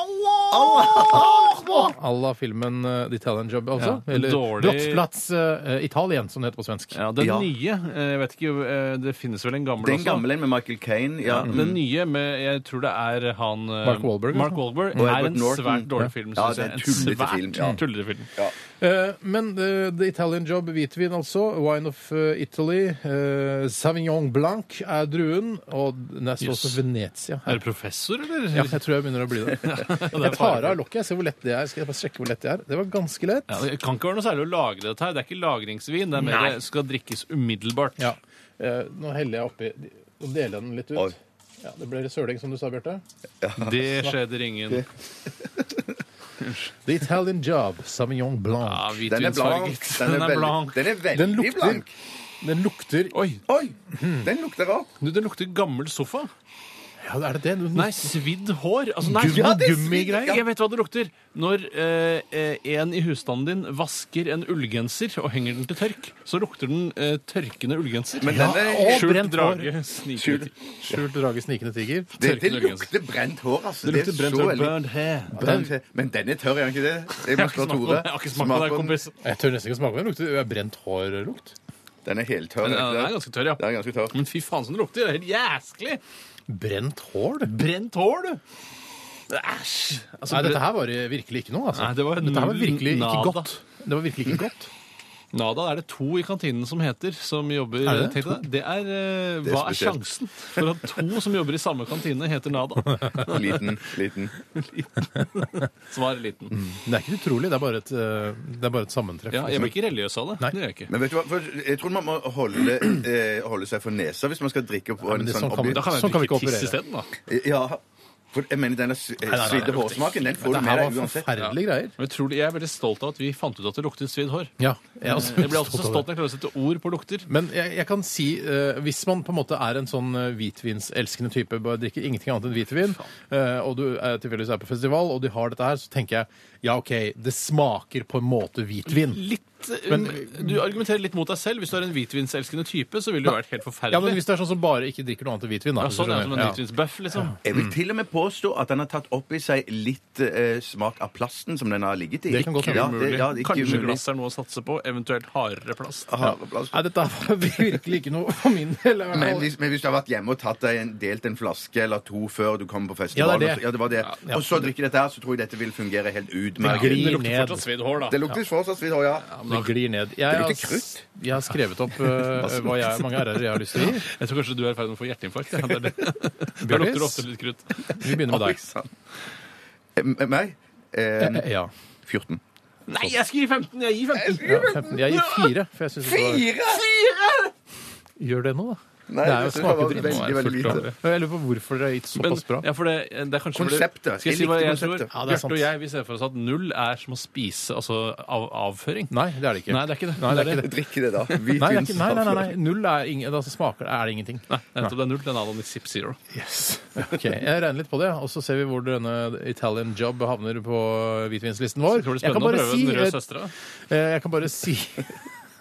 Allah! À la filmen eh, The Italian Job, altså. Ja, Eller dårlig- Brottsplatz eh, Italien, som det heter på svensk. Ja, den Ja. nye eh, Jeg vet ikke, eh, det finnes vel en gammel Den også? Mm. gamle med Michael Kane. Ja. Mm. Den nye med Jeg tror det er han eh, Mark Wahlberg, Mark altså. Wahlberg Og er Edward en Norton. svært Ja. dårlig film. Ja, synes det er jeg. en tullete svært film, ja. tullete film. Eh, men eh, The Italian Job, hvitvin altså. Wine of eh, Italy. eh, Savignon Blanc er druen. Og den er så Yes. også Venezia. Er du professor, eller? Ja, jeg tror jeg begynner å bli det. Jeg tar av lokket. Jeg ser hvor lett det er. Skal jeg bare sjekke hvor lett det er? Det var ganske lett. Ja, det kan ikke være noe særlig å lagre dette her. Det er ikke lagringsvin. Det er mer det skal drikkes umiddelbart. Ja. Eh, nå heller jeg oppi og deler den litt Oi. ut. Ja, det ble søling, som du sa, Bjarte. Det skjeder ingen. The Italian Job, Savignon Ja, Blanc. Den er blank. hvitvinsfarget. Den er, Den er veldig- blank. Den er veldig Den lukter- blank. Den lukter Oi, Oi! Den lukter rart. du, det lukter gammel sofa. Ja, er det det? Du- Nei, svidd hår. Altså, nei, Gummi- Ja, det er gummigreier. svidd, ja. Jeg vet hva det lukter. Når eh, eh, en i husstanden din vasker en ullgenser og henger den til tørk, så lukter den eh, tørkende ullgenser. Men den er, og brent hår. drage. Sniker. Skjult drage, snikende tiger. det, det tørkende lukter brent hår, altså. Det lukter er brent så hår. veldig- Burned hair. Den- Men den er tørr, er den ikke det? Jeg må Jeg har ikke spørre smakt på Tore. det, jeg har ikke smakt på det, Smak på den. kompis. Jeg tør nesten ikke smake på den. Lukter det er brent hår-lukt. Den er helt tørr. er Den er, ikke den er det? ganske tørr, Den ja. er ganske tørr. Men fy faen som det lukter. Det er helt jæsklig. Brent hår? det. Brent hår, du. Æsj. Altså, Nei, dette bre- her var virkelig ikke noe, altså. Nei, det var dette her var null virkelig ikke nada. godt. Det var virkelig ikke godt. Nada er det to i kantinen som heter, som jobber Er det det? Tenk deg det. Det er, eh, Det er Hva er spesielt. sjansen for at to som jobber i samme kantine, heter Nada? Liten. liten. Svar liten. Det er ikke utrolig, det er bare et, eh, det er bare et sammentreff. Ja, jeg blir ikke religiøs av det. Nei. Det gjør jeg ikke. Men vet du hva, for jeg tror man må holde, eh, holde seg for nesa hvis man skal drikke på Men en det, sånn sånn, kan vi, obje- Da kan jeg sånn kan vi drikke ikke tiss operere. isteden, da. Ja. For jeg mener denne s- eh, nei, nei, svidde det lukter hårsmaken, den får du Dette med her deg var uansett. forferdelige greier. Men jeg, tror, jeg er veldig stolt av at vi fant ut at det luktet svidd hår. Ja, jeg er også Jeg blir alltid så stolt av det. stolt når jeg klarer å sette ord på lukter. Men jeg, jeg kan si, eh, hvis man på en måte er en sånn eh, hvitvinselskende type, bare drikker ingenting annet enn hvitvin, eh, og du er tilfeldigvis er på festival, og de har dette her, så tenker jeg ja, OK, det smaker på en måte hvitvin. Litt, eh, Men- du argumenterer litt mot deg selv. Hvis du er en hvitvinselskende type, så ville det jo vært helt forferdelig. Ja, men hvis det er sånn som bare ikke drikker noe annet enn hvitvin, da. Ja, sånn er det som en Ja. hvitvinsbøff, liksom. Jeg vil til og med påstå at den har tatt opp i seg litt eh, smak av plasten som den har ligget i. Det Sånn kan godt ja, være det, ja, det er ikke Kanskje umulig. glass er noe å satse på, eventuelt hardere plast. Aha, plast. Nei, dette var virkelig ikke noe for min del. i hvert Men fall. hvis, men hvis du har vært hjemme og tatt deg en, delt en flaske eller to før du kommer på Ja, festivalen, det er det. og så- ja, det var det. ja. og så drikker dette her, så tror jeg dette vil fungere helt Det utmerket. glir lukter ned. fortsatt svidd hår, da. Det lukter fortsatt svidd hår, ja. Det glir ned. Jeg, Det lukter har- krutt. Jeg har skrevet opp eh, hva jeg, mange r-er jeg har lyst til å gi. Jeg tror kanskje du er i ferd med å få hjerteinfarkt. Ja. Det er det. Da lukter det ofte litt krutt. Vi begynner med Oi, deg. sann. Eh, m- Meg? Eh, Ja. 14. Nei, jeg skal gi 15! Jeg gir 15! ja 15. Jeg gir fire. For jeg synes det var... Gjør det nå, da. Nei, det er jo jeg synes det var smakedritt. veldig, Nå er det veldig fullt lite. krav. Jeg lurer på hvorfor dere har gitt Men, såpass bra. ja, for det, det er kanskje Konseptet. Skal jeg si Jeg hva likte jeg tror? konseptet. Ja, det er sant. Bjarte og jeg vi ser for oss at null er som å spise altså av, avføring. Nei, det er det ikke. Nei, det er ikke det. Nei, det er ikke det. Drikke det, da. Nei, det er ikke, nei, nei, nei, nei. Null er ingen, altså smaker er det ingenting. Nei, nettopp, det er null. Den er da i Zip Zero. Ok, Jeg regner litt på det, og så ser vi hvor denne Italian job havner på hvitvinslisten vår. Tror det blir Jeg kan spennende å bare prøve si, den røde eh, søstera. eh, jeg kan bare si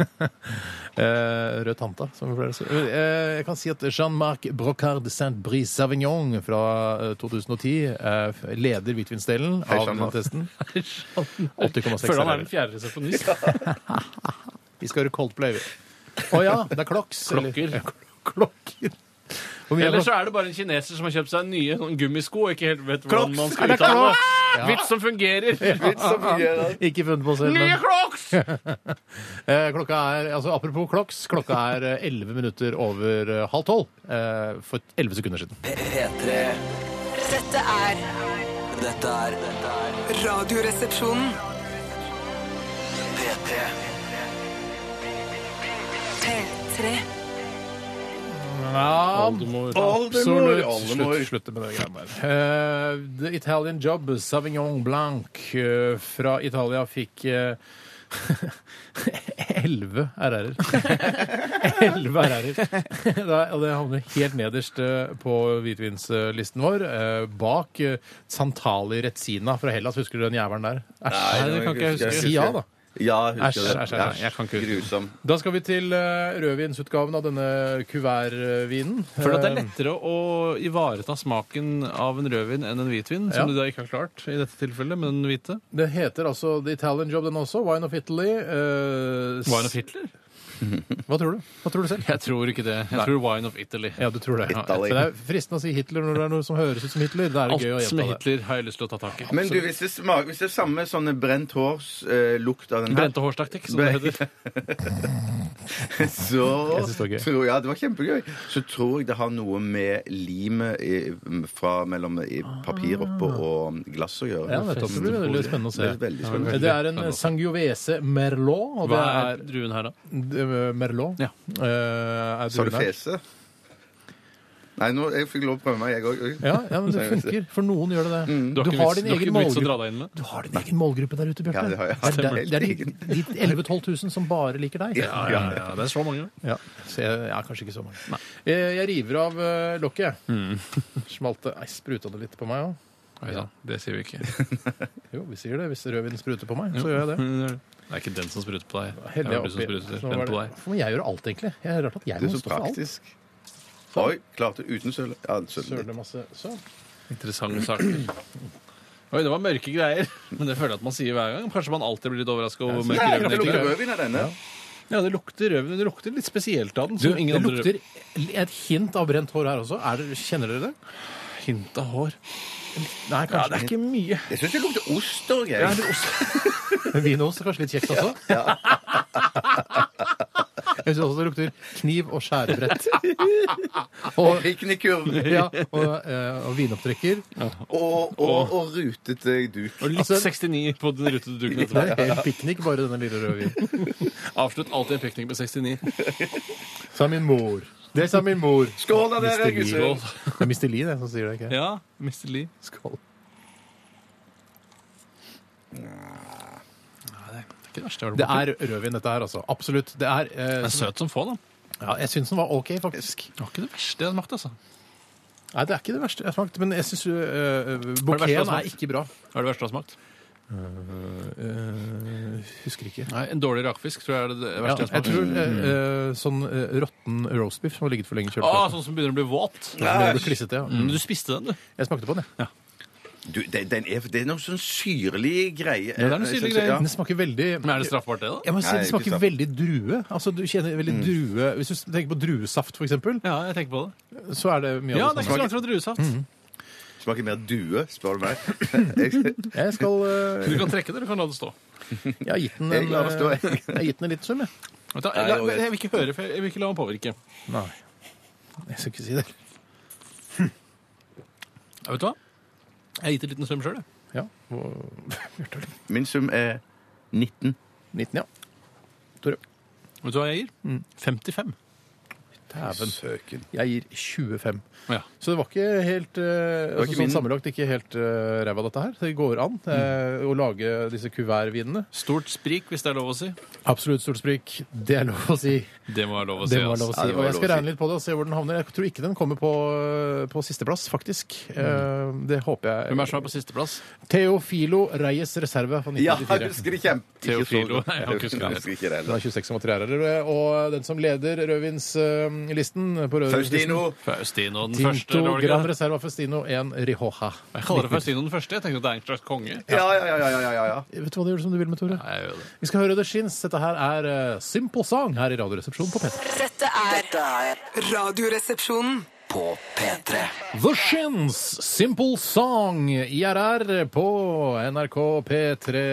Eh, Rød tante, som vi pleier å si. Eh, Jeg kan si at Jean-Marc Brocard de Saint-Brice Savignon fra eh, 2010 eh, leder hvitvinsdelen Hei, av denne Jean-Marc. testen. Føler han 80,6. er den fjerde resepsjonist. Vi skal høre Coldplay. vi. Å ja, det er Clocks. eller- Klokker. Ja, kl- Klokker. Hvor mye er Eller det? så er det bare en kineser som har kjøpt seg nye sånn gummisko og ikke helt vet hvordan Crocs. man Er skal det uttale Crocs? det. Vits som fungerer. Ikke funnet på selv, Nye men Crocs! eh, klokka er altså Apropos Clocks, klokka er eh, 11 minutter over eh, halv tolv eh, for 11 sekunder siden. P3. Dette er Dette er dette er Radioresepsjonen. P3. P3. Ja, Oldemor. Oldemor. Slutt, Oldemor. slutt med det greiene der. Eh, The Italian Job, Savignon Blanc eh, fra Italia fikk eh, 11 RR-er. 11 RR-er. Da- og Det havner helt nederst eh, på hvitvinslisten vår, eh, bak eh, Santali Rezzina fra Hellas. Husker du den jævelen der? Æsj. Nei, det kan ikke jeg huske. Si ja, da. Ja, jeg husker Æsj, det. æsj, æsj. Jeg kan ikke huske det. Grusom. Da skal vi til eh, rødvinsutgaven av denne kuvertvinen. Føler at det er lettere å ivareta smaken av en rødvin enn en hvitvin, som Ja. du da ikke har klart i dette tilfellet, men den hvite. Det heter altså The Italian Job, den også. Wine of Italy. eh, s- Wine of Hitler? Hva tror du? Hva tror du selv? Jeg tror ikke det. Jeg tror Wine of Italy. Ja, du tror det. Ja, Italy. Så det er fristende å si Hitler når det er noe som høres ut som Hitler. Da er det Alt gøy å som er gjenta det. Hitler, har jeg lyst til å ta tak i. Men du, hvis det, smaker, hvis det er samme sånne brent hårs eh, lukt av den her Brente hårstaktikk, som det heter. så Jeg synes det var gøy. tror, ja, det var kjempegøy. Så tror jeg det har noe med limet i- fra mellom i papir oppå og glass å gjøre. Ah. Ja, nettopp. Det blir veldig spennende å se. Det er veldig spennende. Det er en eh, Sangiovese Merlot. Og det Hva er Mm. er druen her, da? d- Merlot. Ja. Eh, er Sa du druen her? fese? Nei, nå, jeg fikk lov å prøve meg, jeg òg. Ja, ja, men det funker. For noen gjør det det. Mm. Du har, Du har ikke vits- din du har egen ikke vits målgruppe. å dra deg inn med? Du har din egen målgruppe der ute, Bjarte. Ja, det har jeg. Det er, der- Helt det er de, de 11 000-12 000 som bare liker deg. Ja, ja, ja. det er så mange. Ja, så jeg, jeg er kanskje ikke så mange. Eh, Jeg river av eh, lokket. Mm. Smalt det Nei, spruta det litt på meg òg? Oi sann, det sier vi ikke. Jo, vi sier det. Hvis rødvinen spruter på meg, så gjør jeg det. Det er ikke den som spruter på deg. Det Heldig er jeg du som oppi. Så spruter. Den var på det- deg. Hvorfor må jeg gjøre alt, egentlig? Jeg er rart at jeg Du må er så stå for alt. praktisk. Oi, klarte uten søl. Ja, søl. Søler masse sånn. Interessante saker. Oi, det var mørke greier. Men det føler jeg at man sier hver gang. Kanskje man alltid blir litt overraska over hvor Nei, mørk jeg rødvin kan er. lukte rødvin av denne. Ja, det lukter rødvin. Det lukter litt spesielt av den. Du, Som ingen det andre lukter et hint av brent hår her også. Er det, kjenner dere det? rødvin. hint av hår. Nei, Ja, det kanskje er ikke mye. Jeg syns det lukter ost òg, jeg. ikke. Vinost er kanskje litt kjekt også? Jeg syns også det lukter kniv og skjærebrett. Og piknikkurv. Ja, og, eh, og vinopptrekker. Og, og, og rutete duk. Og litt Altså- 69 på den rutete duken Det etterpå. er helt piknik, bare denne lille røde vinen. Avslutt alltid en piknik med 69. Sa min mor. Det sa min mor. Skål da, dere, Mr. Lee. gutter! Det er Mr. Lee det, som sier det, ikke jeg? Ja, Mr. Lee. Skål. Det er ikke verst, det, Det er rødvin, dette her, altså. Absolutt. Det er, eh, er søt som få, da. ja, jeg syns den var OK, faktisk. Det var ikke det verste jeg smakte, altså. Nei, det er ikke det verste jeg har smakt, men jeg syns eh, verste jeg har bouqueten smakt? er ikke bra. Hva er det verste du har smakt? Eh, husker ikke. Nei, En dårlig rakfisk tror jeg er det Ja, verste jeg jeg har tror smakt. eh, eh, sånn eh, råtten roastbiff som har ligget for lenge i Å, kjøleskapet. sånn som begynner å bli våt. Den ble klissete, ja. Mm. Men du spiste den, du. Jeg smakte på den, jeg. Du, den, den er, det er noe sånn syrlig greie. det er noe syrlig greie. Ja. Den smaker veldig Men er det straffbart, det, da? Jeg må si Nei, Mm. Det ikke smaker sant. veldig drue. Altså, Du kjenner veldig drue Hvis du tenker på druesaft, for eksempel, Ja, jeg tenker på det. så er det mye Ja, av det det Mm. er ikke som så langt fra druesaft. Smaker mer due, spør du meg. Jeg- smaker. Jeg skal eh, Du kan trekke det, eller kan la det stå. Jeg har gitt den Jeg er en, glad for at eh, du er- jeg har gitt den en liten sum, jeg. Vet du, la, men jeg vil ikke høre, for jeg vil ikke la meg påvirke. Nei. Jeg skal ikke si det. Ja, vet du hva? Jeg har gitt en liten sum sjøl, jeg. Ja. og- Bjarte, Min sum er 19. 19, ja. Vet du hva jeg gir? 55. Dæven. Søken. Jeg gir 25. Ja. Så det var ikke helt eh, altså, ikke sånn min. Sammenlagt ikke helt eh, ræva, dette her. Det går an Mm. eh, å lage disse kuvertvinene. Stort sprik, hvis det er lov å si. Absolutt stort sprik. Det er lov å si. Det må være lov å si. Det var ass. lov å Ja, si. det var Og jeg skal lov å si. regne litt på det og se hvor den havner. Jeg tror ikke den kommer på, på sisteplass, faktisk. Eh, Det håper jeg. Mm. Hvem er det som er på sisteplass? Teofilo Reyes Reserve fra Ja, jeg 1994. husker det kjempe... ikke så Teofilo. godt. Nei, jeg husker ikke Jeg det. husker ikke Den det heller. er 26,3 her. Og den som leder rødvinslisten eh, på rødvinslisten Faustino. Faustino den første. Tinto eller var det ikke Gran det? Reserva Festino 1 Rioja. Jeg kaller det Faustino den første. Jeg tenker at det er en slags konge. Ja, ja, ja, ja, ja, ja, ja. Vet du hva du gjør som du vil med, Tore? Nei, jeg gjør det. Vi skal høre The Shins. Dette her er eh, Simple Song her i Radioresepsjonen på P3. Dette er Radioresepsjonen. På P3 The Shins, Simple Song, IRR på NRK P3.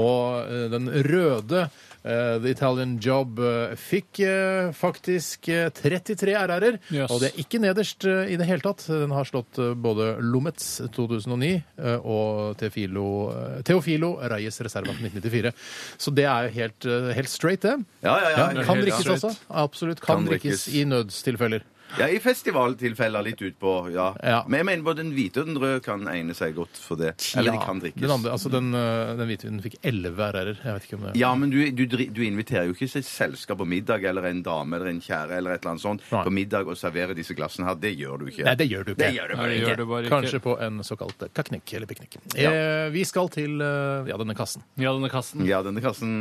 Og eh, den røde eh, The Italian Job eh, fikk eh, faktisk eh, 33 RR-er. Yes. Og det er ikke nederst eh, i det hele tatt. Den har slått eh, både Lomets 2009 eh, og Teofilo, eh, Teofilo Reyes Reserva 1994. Så det er jo helt, eh, helt straight, det. Ja, ja, ja. Ja, ja, kan helt drikkes straight. også. Absolutt. Kan, Kan drikkes. drikkes. i nødstilfeller. ja I festivaltilfeller litt utpå, ja. Ja. Men jeg mener både den hvite og den røde kan egne seg godt for det. Eller de kan drikkes. Den, andre, altså den, øh, den hvitvinen fikk 11 RR-er. Jeg vet ikke om det Ja, men du, du, dri- du inviterer jo ikke et selskap på middag eller en dame eller en kjære eller et eller annet sånt Nei. på middag og serverer disse glassene her. Det gjør du ikke. Nei, det gjør du ikke. Det gjør du Nei, bare det gjør ikke. du bare ikke. Kanskje på en såkalt kaknikk eller piknik. Eh, vi skal til øh, ja, denne kassen. Ja, denne kassen. Ja, denne kassen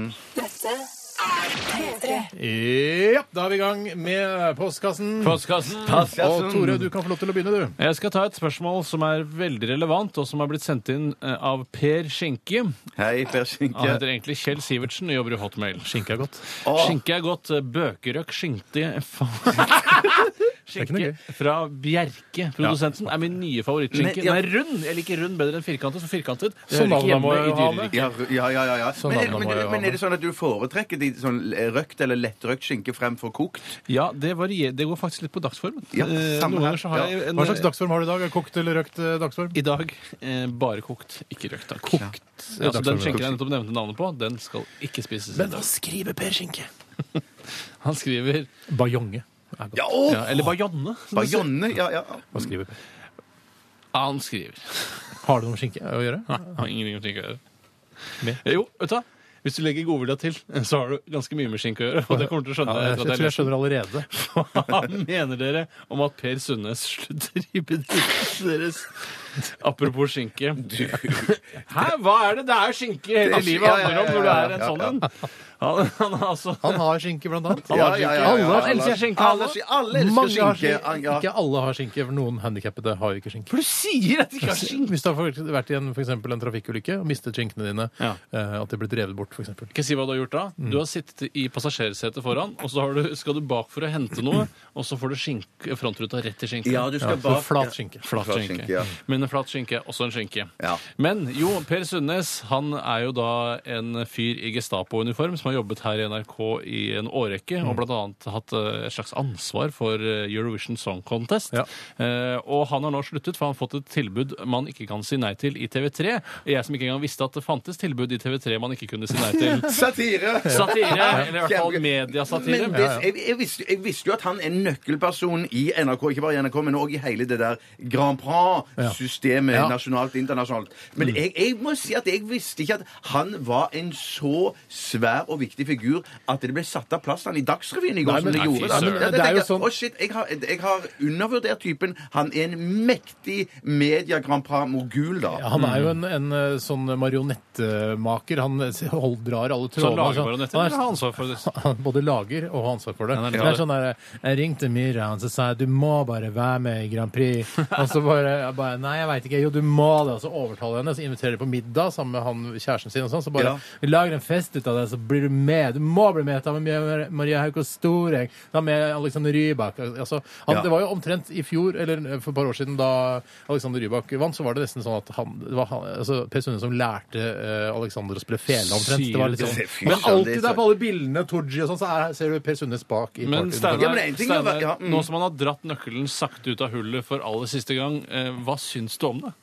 Ja, da er vi i gang med postkassen. Postkassen. Og Tore, du kan få lov til å begynne, du. Jeg skal ta et spørsmål som er veldig relevant, og som er blitt sendt inn eh, av Per Skjenke. Hei, Per Ah, Han heter Skinke. egentlig Kjell Sivertsen og jobber i Hotmail. Skinke er godt. Skinke er godt. eh, Bøkerøk skinkte ikke noe Skinke gøy. fra Bjerke, produsenten, er min nye favorittskinke. Men, ja. Den er rund! Jeg liker rund bedre enn firkantet, for firkantet det Så hører ikke navnet må hjemme i jo ha med. dyreriket. Ja, ja, ja. ja, ja. Sånn Men, er, navn men, må jeg er- ha men med. er det sånn at du foretrekker de sånn røkt eller lettrøkt skinke fremfor kokt? Ja, det, varier, det går faktisk litt på dagsformen. Ja, Eh, samme Noen her. ganger så har Ja. jeg en, Hva slags dagsform har du i dag? Kokt eller røkt eh, dagsform? I dag eh, bare kokt, ikke røkt. Da. Kokt. Ja, altså, den skjenken jeg nettopp nevnte navnet på, den skal ikke spises. i dag. skriver Per Skinke? Han skriver Bajonge. er godt. Ja, åh! ja, Eller bajonne. som det sier. Bajonne, ja, ja. Hva skriver Per? Han skriver. Har det noe med skinke å gjøre? Nei, han har ingenting å gjøre. Med? Eh, Jo, vet du hva? Hvis du legger godvilja til, så har du ganske mye med skinke å gjøre. Og det kommer du til å Ja, skjønne Eh, jeg, etter at tror jeg skjønner allerede. jeg Hva mener dere om at Per Sundnes slutter i bedriften deres? Apropos skinke. Hæ, hva er det? Det er skinke hele Det er- livet handler om når du ja, ja, er en ja, sånn ja. en. Han, han er altså Han har skinke, blant annet. Ja, ja, ja, ja, ja. Alle elsker skinke, Alle, alle. alle elsker Mange har skinke. skinke. Ja. Ikke alle har skinke, for noen handikappede har jo ikke skinke. For du sier at de ikke har skinke! Hvis du har for- vært i en, for eksempel, en trafikkulykke og mistet skinkene dine, Ja. eh, at de ble drevet bort, for eksempel. Skal jeg si hva du har gjort da? Du har sittet i passasjersetet foran, og så har du, skal du bak for å hente noe, og så får du skinke, frontruta rett i skinken. Ja, du skal Så bak flat skinke. Flat Flat skinke. skinke, ja. Men en flat skinke, også en skinke. Ja. Men jo, Per Sundnes han er jo da en fyr i Gestapo-uniform som har jobbet her i NRK i en årrekke, og blant annet hatt eh, et slags ansvar for eh, Eurovision Song Contest. Ja. Eh, og han har nå sluttet, for han har fått et tilbud man ikke kan si nei til i TV3. Jeg som ikke engang visste at det fantes tilbud i TV3 man ikke kunne si nei til. Satire! Satire, eller i hvert fall Kjempegøy. mediasatire. Men det, jeg, jeg, visste, jeg visste jo at han er nøkkelperson i NRK, ikke bare i NRK, men òg i hele det der Grand Prix-systemet Ja. Mm. nasjonalt, internasjonalt. Men jeg, jeg må si at jeg visste ikke at han var en så svær og viktig figur at det ble satt av plass til han i Dagsrevyen i går, Nei, men- som det Nei, fy gjorde. da. søren. Ja, Det er tenker jo jeg, sånn- «Å, shit, jeg har, jeg har undervurdert typen. Han er en mektig media-Grand Prix-mogul, da. Han er Mm. jo en, en eh, sånn marionettemaker. Han eh, hold, drar alle Så trådene. han lager altså. bare nettet. Han er- eller har ansvar for det? han både lager og har ansvar for det. Han er det litt er sånn der, Jeg ringte Myhran og sa jeg, du må bare være med i Grand Prix. Og så bare, jeg bare Nei, jeg veit ikke. Jo, du må det. Og så overtaler jeg henne, så inviterer de på middag sammen med han kjæresten sin. og sånn, Så bare Ja. Vi lager en fest ut av det, så blir du med. Du må bli med. Ta med Maria- Maria Haukås Storeng. Ta med Alexander Rybak. Altså, han, Ja. Det var jo omtrent i fjor, eller for et par år siden, da Alexander Rybak vant, så var det nesten sånn at han, det var han altså, Per Sunde som lærte eh, Alexander å spille fele, omtrent. Det var litt sånn. Sier du det? Men alltid der på alle bildene, Tooji og sånn, så er, ser du Per Sundnes bak i Men partyen. Steinar, Ja, men en ting er å være- ja, Steinar, mm. nå som han har dratt nøkkelen sakte ut av hullet for aller siste gang, eh, hva syns du om det?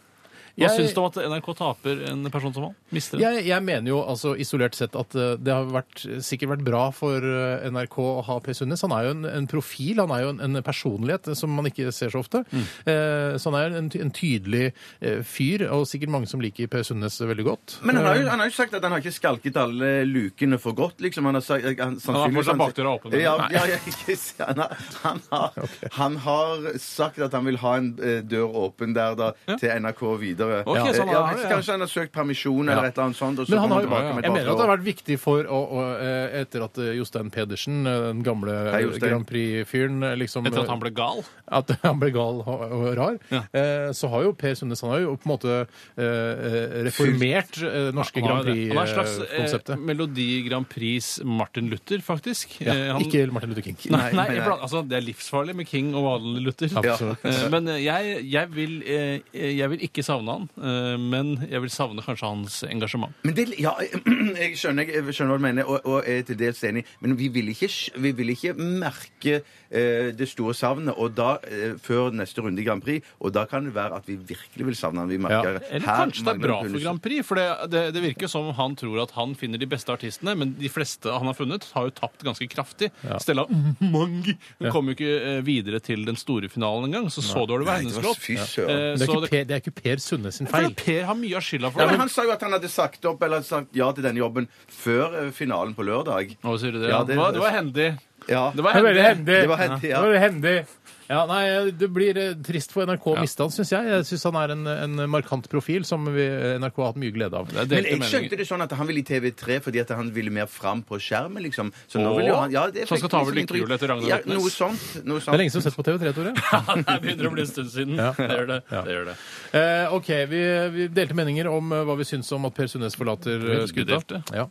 Hva Jeg- syns du om at NRK taper en person som han? Mister det? Jeg, jeg mener jo altså isolert sett at eh, det har vært, sikkert vært bra for eh, NRK å ha Per Sundnes. Han er jo en, en profil, han er jo en, en personlighet eh, som man ikke ser så ofte. Mm. Eh, så han er jo en, ty- en tydelig eh, fyr, og sikkert mange som liker Per Sundnes veldig godt. Men han har, jo, han har jo sagt at han har ikke skalket alle lukene for godt, liksom. Han har sagt, han, sannsynligvis- fortsatt bakdøra åpen, eller? Ja, ja, ja, ikke s- han, har, han, har, han har sagt at han vil ha en eh, dør åpen der da, til NRK videre. Ok, så han Eh, ja, har det, hvis- ja. Kanskje han har søkt permisjon eller et eller annet sånt. Og så Men han kommer har jo, tilbake om et jeg par mener at det har år. vært viktig for å, å eh, Etter at eh, Jostein Pedersen, eh, den gamle Hei, Jostein. Grand Prix-fyren, eh, liksom Etter at han ble gal? at han ble gal og og rar, eh, så har jo Per Sundnes han har jo på en måte eh, eh, reformert eh, norske Han Grand er det. Han er en slags eh, Prix-konseptet. Melodi Grand Prix Martin Luther, faktisk. Ja, Eh, han- ikke Martin Luther King. Nei, nei, nei, nei. iblant- Altså, det er livsfarlig med King og vanlig Luther. Absolutt. Eh, Men eh, jeg, jeg, vil, eh, jeg vil ikke savne han, eh, men jeg vil savne kanskje hans engasjement. Men det, ja, jeg skjønner, jeg skjønner hva du mener, og, og er til dels enig. Men vi vil ikke, sk- vi vil ikke merke eh, det store savnet og da, eh, før neste runde i Grand Prix. Og da kan det være at vi virkelig vil savne han. Vi merker Eller her kanskje det er mangler det bra for pulsen. Grand Prix, for det, det, det virker som han tror at han finner de beste artistene, men de fleste han har funnet, har jo tapt ganske kraftig. Stella Mang hun kom jo ikke eh, videre til den store finalen engang, så så dårlig var Nei, det hennes var- låt. Fy søren. Eh, Men Det er så ikke det- Per, det er ikke per Sundnes sin for feil. Per har mye av skylda for Ja, det. men han sa jo at han hadde sagt opp eller sagt ja til denne jobben før eh, finalen på lørdag. Å, sier du det? Ja, Ja, det- det, var, det var hendig. Ja. Det var Det var veldig hendig. hendig. Det var hendig, ja. Det var hendig. Ja, nei, Det blir eh, trist for NRK å miste han, syns jeg. Jeg syns han er en, en markant profil som vi, NRK har hatt mye glede av. Det er Men delte jeg meninger. skjønte det sånn at han ville i TV3 fordi at han ville mer fram på skjermen, liksom. Så nå Åh. vil jo han ja, det er Så han skal ta over faktisk litt- lykkehjulet etter Ragnar Ja, Røtnes. noe sånt. Noe Det er sånt. lenge siden du har sett på TV3, Tore. Det begynner å bli en stund siden. Det gjør det. det, gjør det. Eh, OK, vi, vi delte meninger om eh, hva vi syns om at Per Sundnes forlater eh, Veldig skuta. delte. Ja.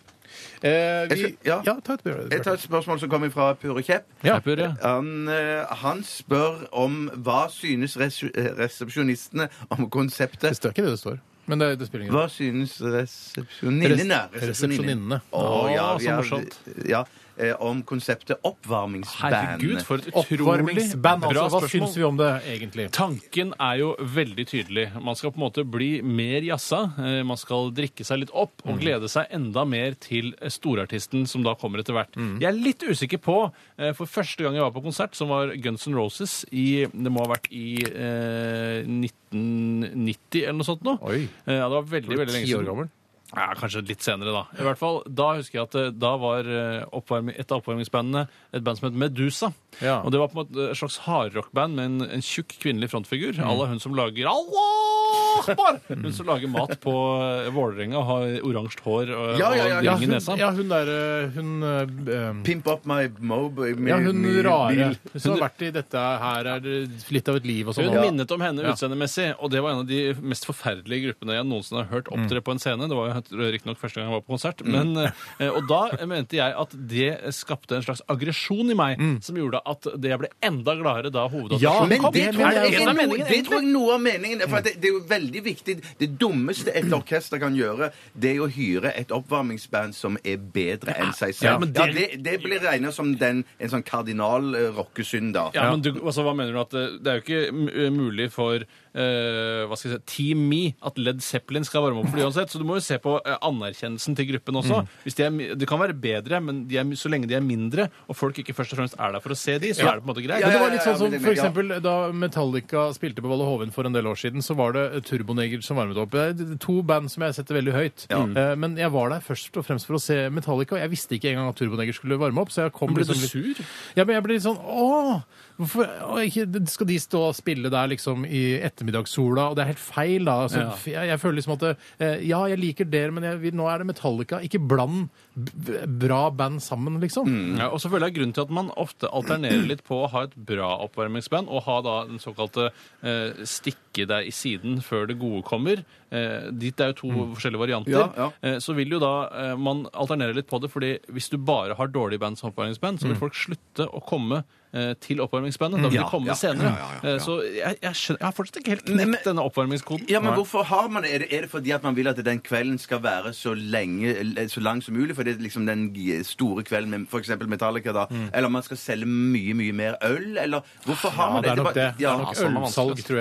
Eh, vi, Jeg skal- ja. ta et Bjørn. Jeg tar et spørsmål som kommer fra Pure Kjepp. Ja. Nei, Purre. Han, eh, han spør om hva synes resu- eh, resepsjonistene om Det konseptet. står ikke det det står. Men det, det spiller ingen rolle. Hva synes resepsjoninnene? Res- resepsjoninnene. Å, ja, Å, vi så er- morsomt. Ja, eh, om konseptet oppvarmingsband. Herregud, for et utrolig Oppvarmingsband, bra altså. Hva spørsmål. syns vi om det, egentlig? Tanken er jo veldig tydelig. Man skal på en måte bli mer jazza. eh, Man skal drikke seg litt opp Mm. og glede seg enda mer til storartisten som da kommer etter hvert. Mm. Jeg er litt usikker på, eh, for første gang jeg var på konsert, som var Guns N' Roses i Det må ha vært i eh, 1990 eller noe sånt nå. Oi. Eh, Ja, det var veldig, veldig lenge Ti år siden. gammel. Ja, kanskje litt senere, da. I hvert fall, Da husker jeg at eh, da var eh, oppvarmi- et av oppvarmingsbandene et band som het Medusa. Ja. Og Det var på en måte et slags hardrockband med en, en tjukk kvinnelig frontfigur. Mm. Alla hun som lager Allah akbar! Hun som lager mat på eh, Vålerenga og har oransje hår og, Ja, ja, ja, og ja, Ja, ring i hun, nesa. ja, hun derre Hun eh, Pimp up my mob. ja, hun rare som har vært i dette her, er det litt av et liv og sånn. Hun minnet om henne Ja. utseendemessig, og det var en av de mest forferdelige gruppene jeg noensinne har hørt opptre på en scene. Det var jo riktignok første gang jeg var på konsert. Men, eh, og da mente jeg at det skapte en slags aggresjon i meg, som gjorde at det jeg ble enda gladere da Ja, hovedattraksjonen men Men Ah, kom. det, det tror mener jeg, jeg er også. noe- det tror jeg noe av meningen er. For at det, det er jo veldig viktig. Det dummeste et orkester kan gjøre, det er å hyre et oppvarmingsband som er bedre enn seg selv. Ja, men Ja, det- det, det blir regna som den, en sånn kardinal eh, rockesynd, da. Ja, men du, altså, hva mener du at eh, Det er jo ikke m- mulig for eh, hva skal jeg si, Team Me at Led Zeppelin skal varme opp for det uansett. Så du må jo se på eh, anerkjennelsen til gruppen også. Hvis de er, mi- det kan være bedre, men de er, mi- så lenge de er mindre, og folk ikke først og fremst er der for å se de, så er det på en måte greit. Men det ja, var litt ja, sånn som men det- for eksempel, da Metallica spilte på Valle Hoven for en del år siden, så var det Turboneger som varmet opp. Det er to band som jeg setter veldig høyt. Eh, Men jeg var der først og fremst for å se Metallica, og jeg visste ikke engang at Turboneger skulle varme opp. Så jeg kom Ble du liksom litt- sur? Ja, men jeg ble litt sånn Åh! Hvorfor å, ikke, skal de stå og spille der liksom i ettermiddagssola? Og det er helt feil, da. Altså, Ja. f- jeg, jeg føler liksom at det, eh, Ja, jeg liker dere, men jeg, vil- nå er det Metallica. Ikke bland b- bra band sammen, liksom. Mm. Ja, og så føler jeg grunnen til at man ofte alternerer litt på å ha et bra oppvarmingsband og ha da den såkalte eh, stikke deg i siden før det gode kommer. Eh, dit det er jo to forskjellige varianter. Mm. Ja, ja. Eh, så vil jo da eh, man alternere litt på det, fordi hvis du bare har dårlige band som oppvarmingsband, så vil folk slutte å komme eh, til oppvarmingsbandet. Da vil de komme Mm. Ja, senere. ja, ja, ja, ja. Eh, Så jeg, jeg, skjønner, jeg har fortsatt ikke helt Men- men- knekt denne oppvarmingskoden. Ja, men Nei. hvorfor har man Er det, er det fordi at man vil at den kvelden skal være så lenge eller Så lang som mulig? For det er liksom den g- store kvelden med f.eks. Metallica, da. Mm. Eller man skal selge mye, mye mer øl? Eller hvorfor har Ja, man det er nok bare- det. det ja. er nok altså, det er Ølsalg vanskelig. tror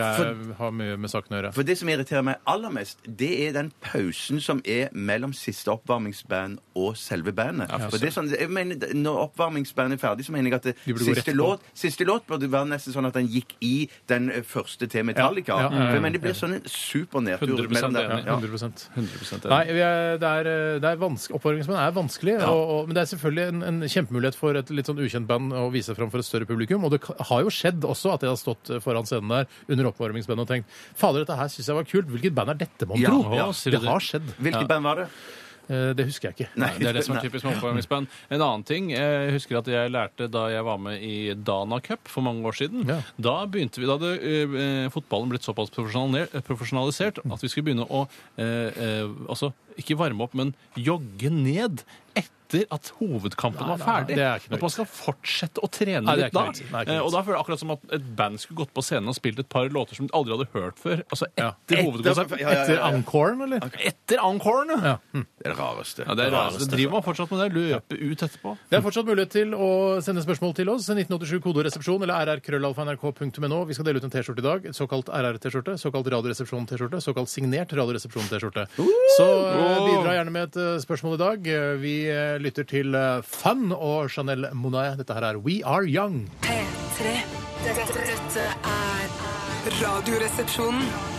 jeg har mye med saken å gjøre. For det som irriterer meg aller mest, det er den pausen som er mellom siste oppvarmingsband og selve bandet. for det er sånn, jeg mener, når oppvarmingsbandet er ferdig, så mener jeg at det, De burde gå rett siste, på. låt, siste låt burde være nesten sånn at den gikk i den eh, første til Metallica. Ja, ja, ja, ja. Men det blir sånn en super nedtur 100% mellom der. enig. Ja. 100 100% Nei, vi er, det er, det er vanskelig, Oppvarmingsband er vanskelig, og, og, men det er selvfølgelig en, en kjempemulighet for et litt sånn ukjent band å vise seg fram for et større publikum. Og det ka- har jo skjedd også at jeg har stått foran scenen der under oppvarmingsbandet og tenkt Fader, dette her syns jeg var kult. Hvilket band er dette, mon Ja, tro? ja, sier du det har skjedd. Hvilket band var det? Eh, Det husker jeg ikke. Nei, Det er det som er typisk med oppvarmingsband. En annen ting jeg husker at jeg lærte da jeg var med i Dana Cup for mange år siden. Ja. Da begynte vi, da hadde eh, fotballen blitt såpass profesjonali- profesjonalisert at vi skulle begynne å eh, eh, altså, ikke varme opp, men jogge ned etter at hovedkampen Nei, var nei, ferdig. det er ikke noe at man skal fortsette å trene Nei, det er litt da. ikke noe vits. Nei, det er ikke Eh, noe og da føler jeg akkurat som at et band skulle gått på scenen og spilt et par låter som de aldri hadde hørt før. Altså etter Ja, hovedkonserten. ja, ja, ja. Etter encoren, eller? Etter encoren! Ja. Det er det rareste. det er rarest. Driver man fortsatt med det? Løpe ut etterpå? Det er fortsatt mulighet til å sende spørsmål til oss. 1987 kodoresepsjon eller rrkrøllalfa.nrk.no. Vi skal dele ut en T-skjorte i dag. Et Såkalt RR-T-skjorte, såkalt Radioresepsjon-T-skjorte, såkalt signert Radioresepsjon-T-skjorte. Så eh, bidra gjerne med et eh, spørsmål i dag. Eh, Vi eh, lytter til eh, Fun og Chanel Monae. Dette her er We Are Young. P3. Dette, dette er Radioresepsjonen.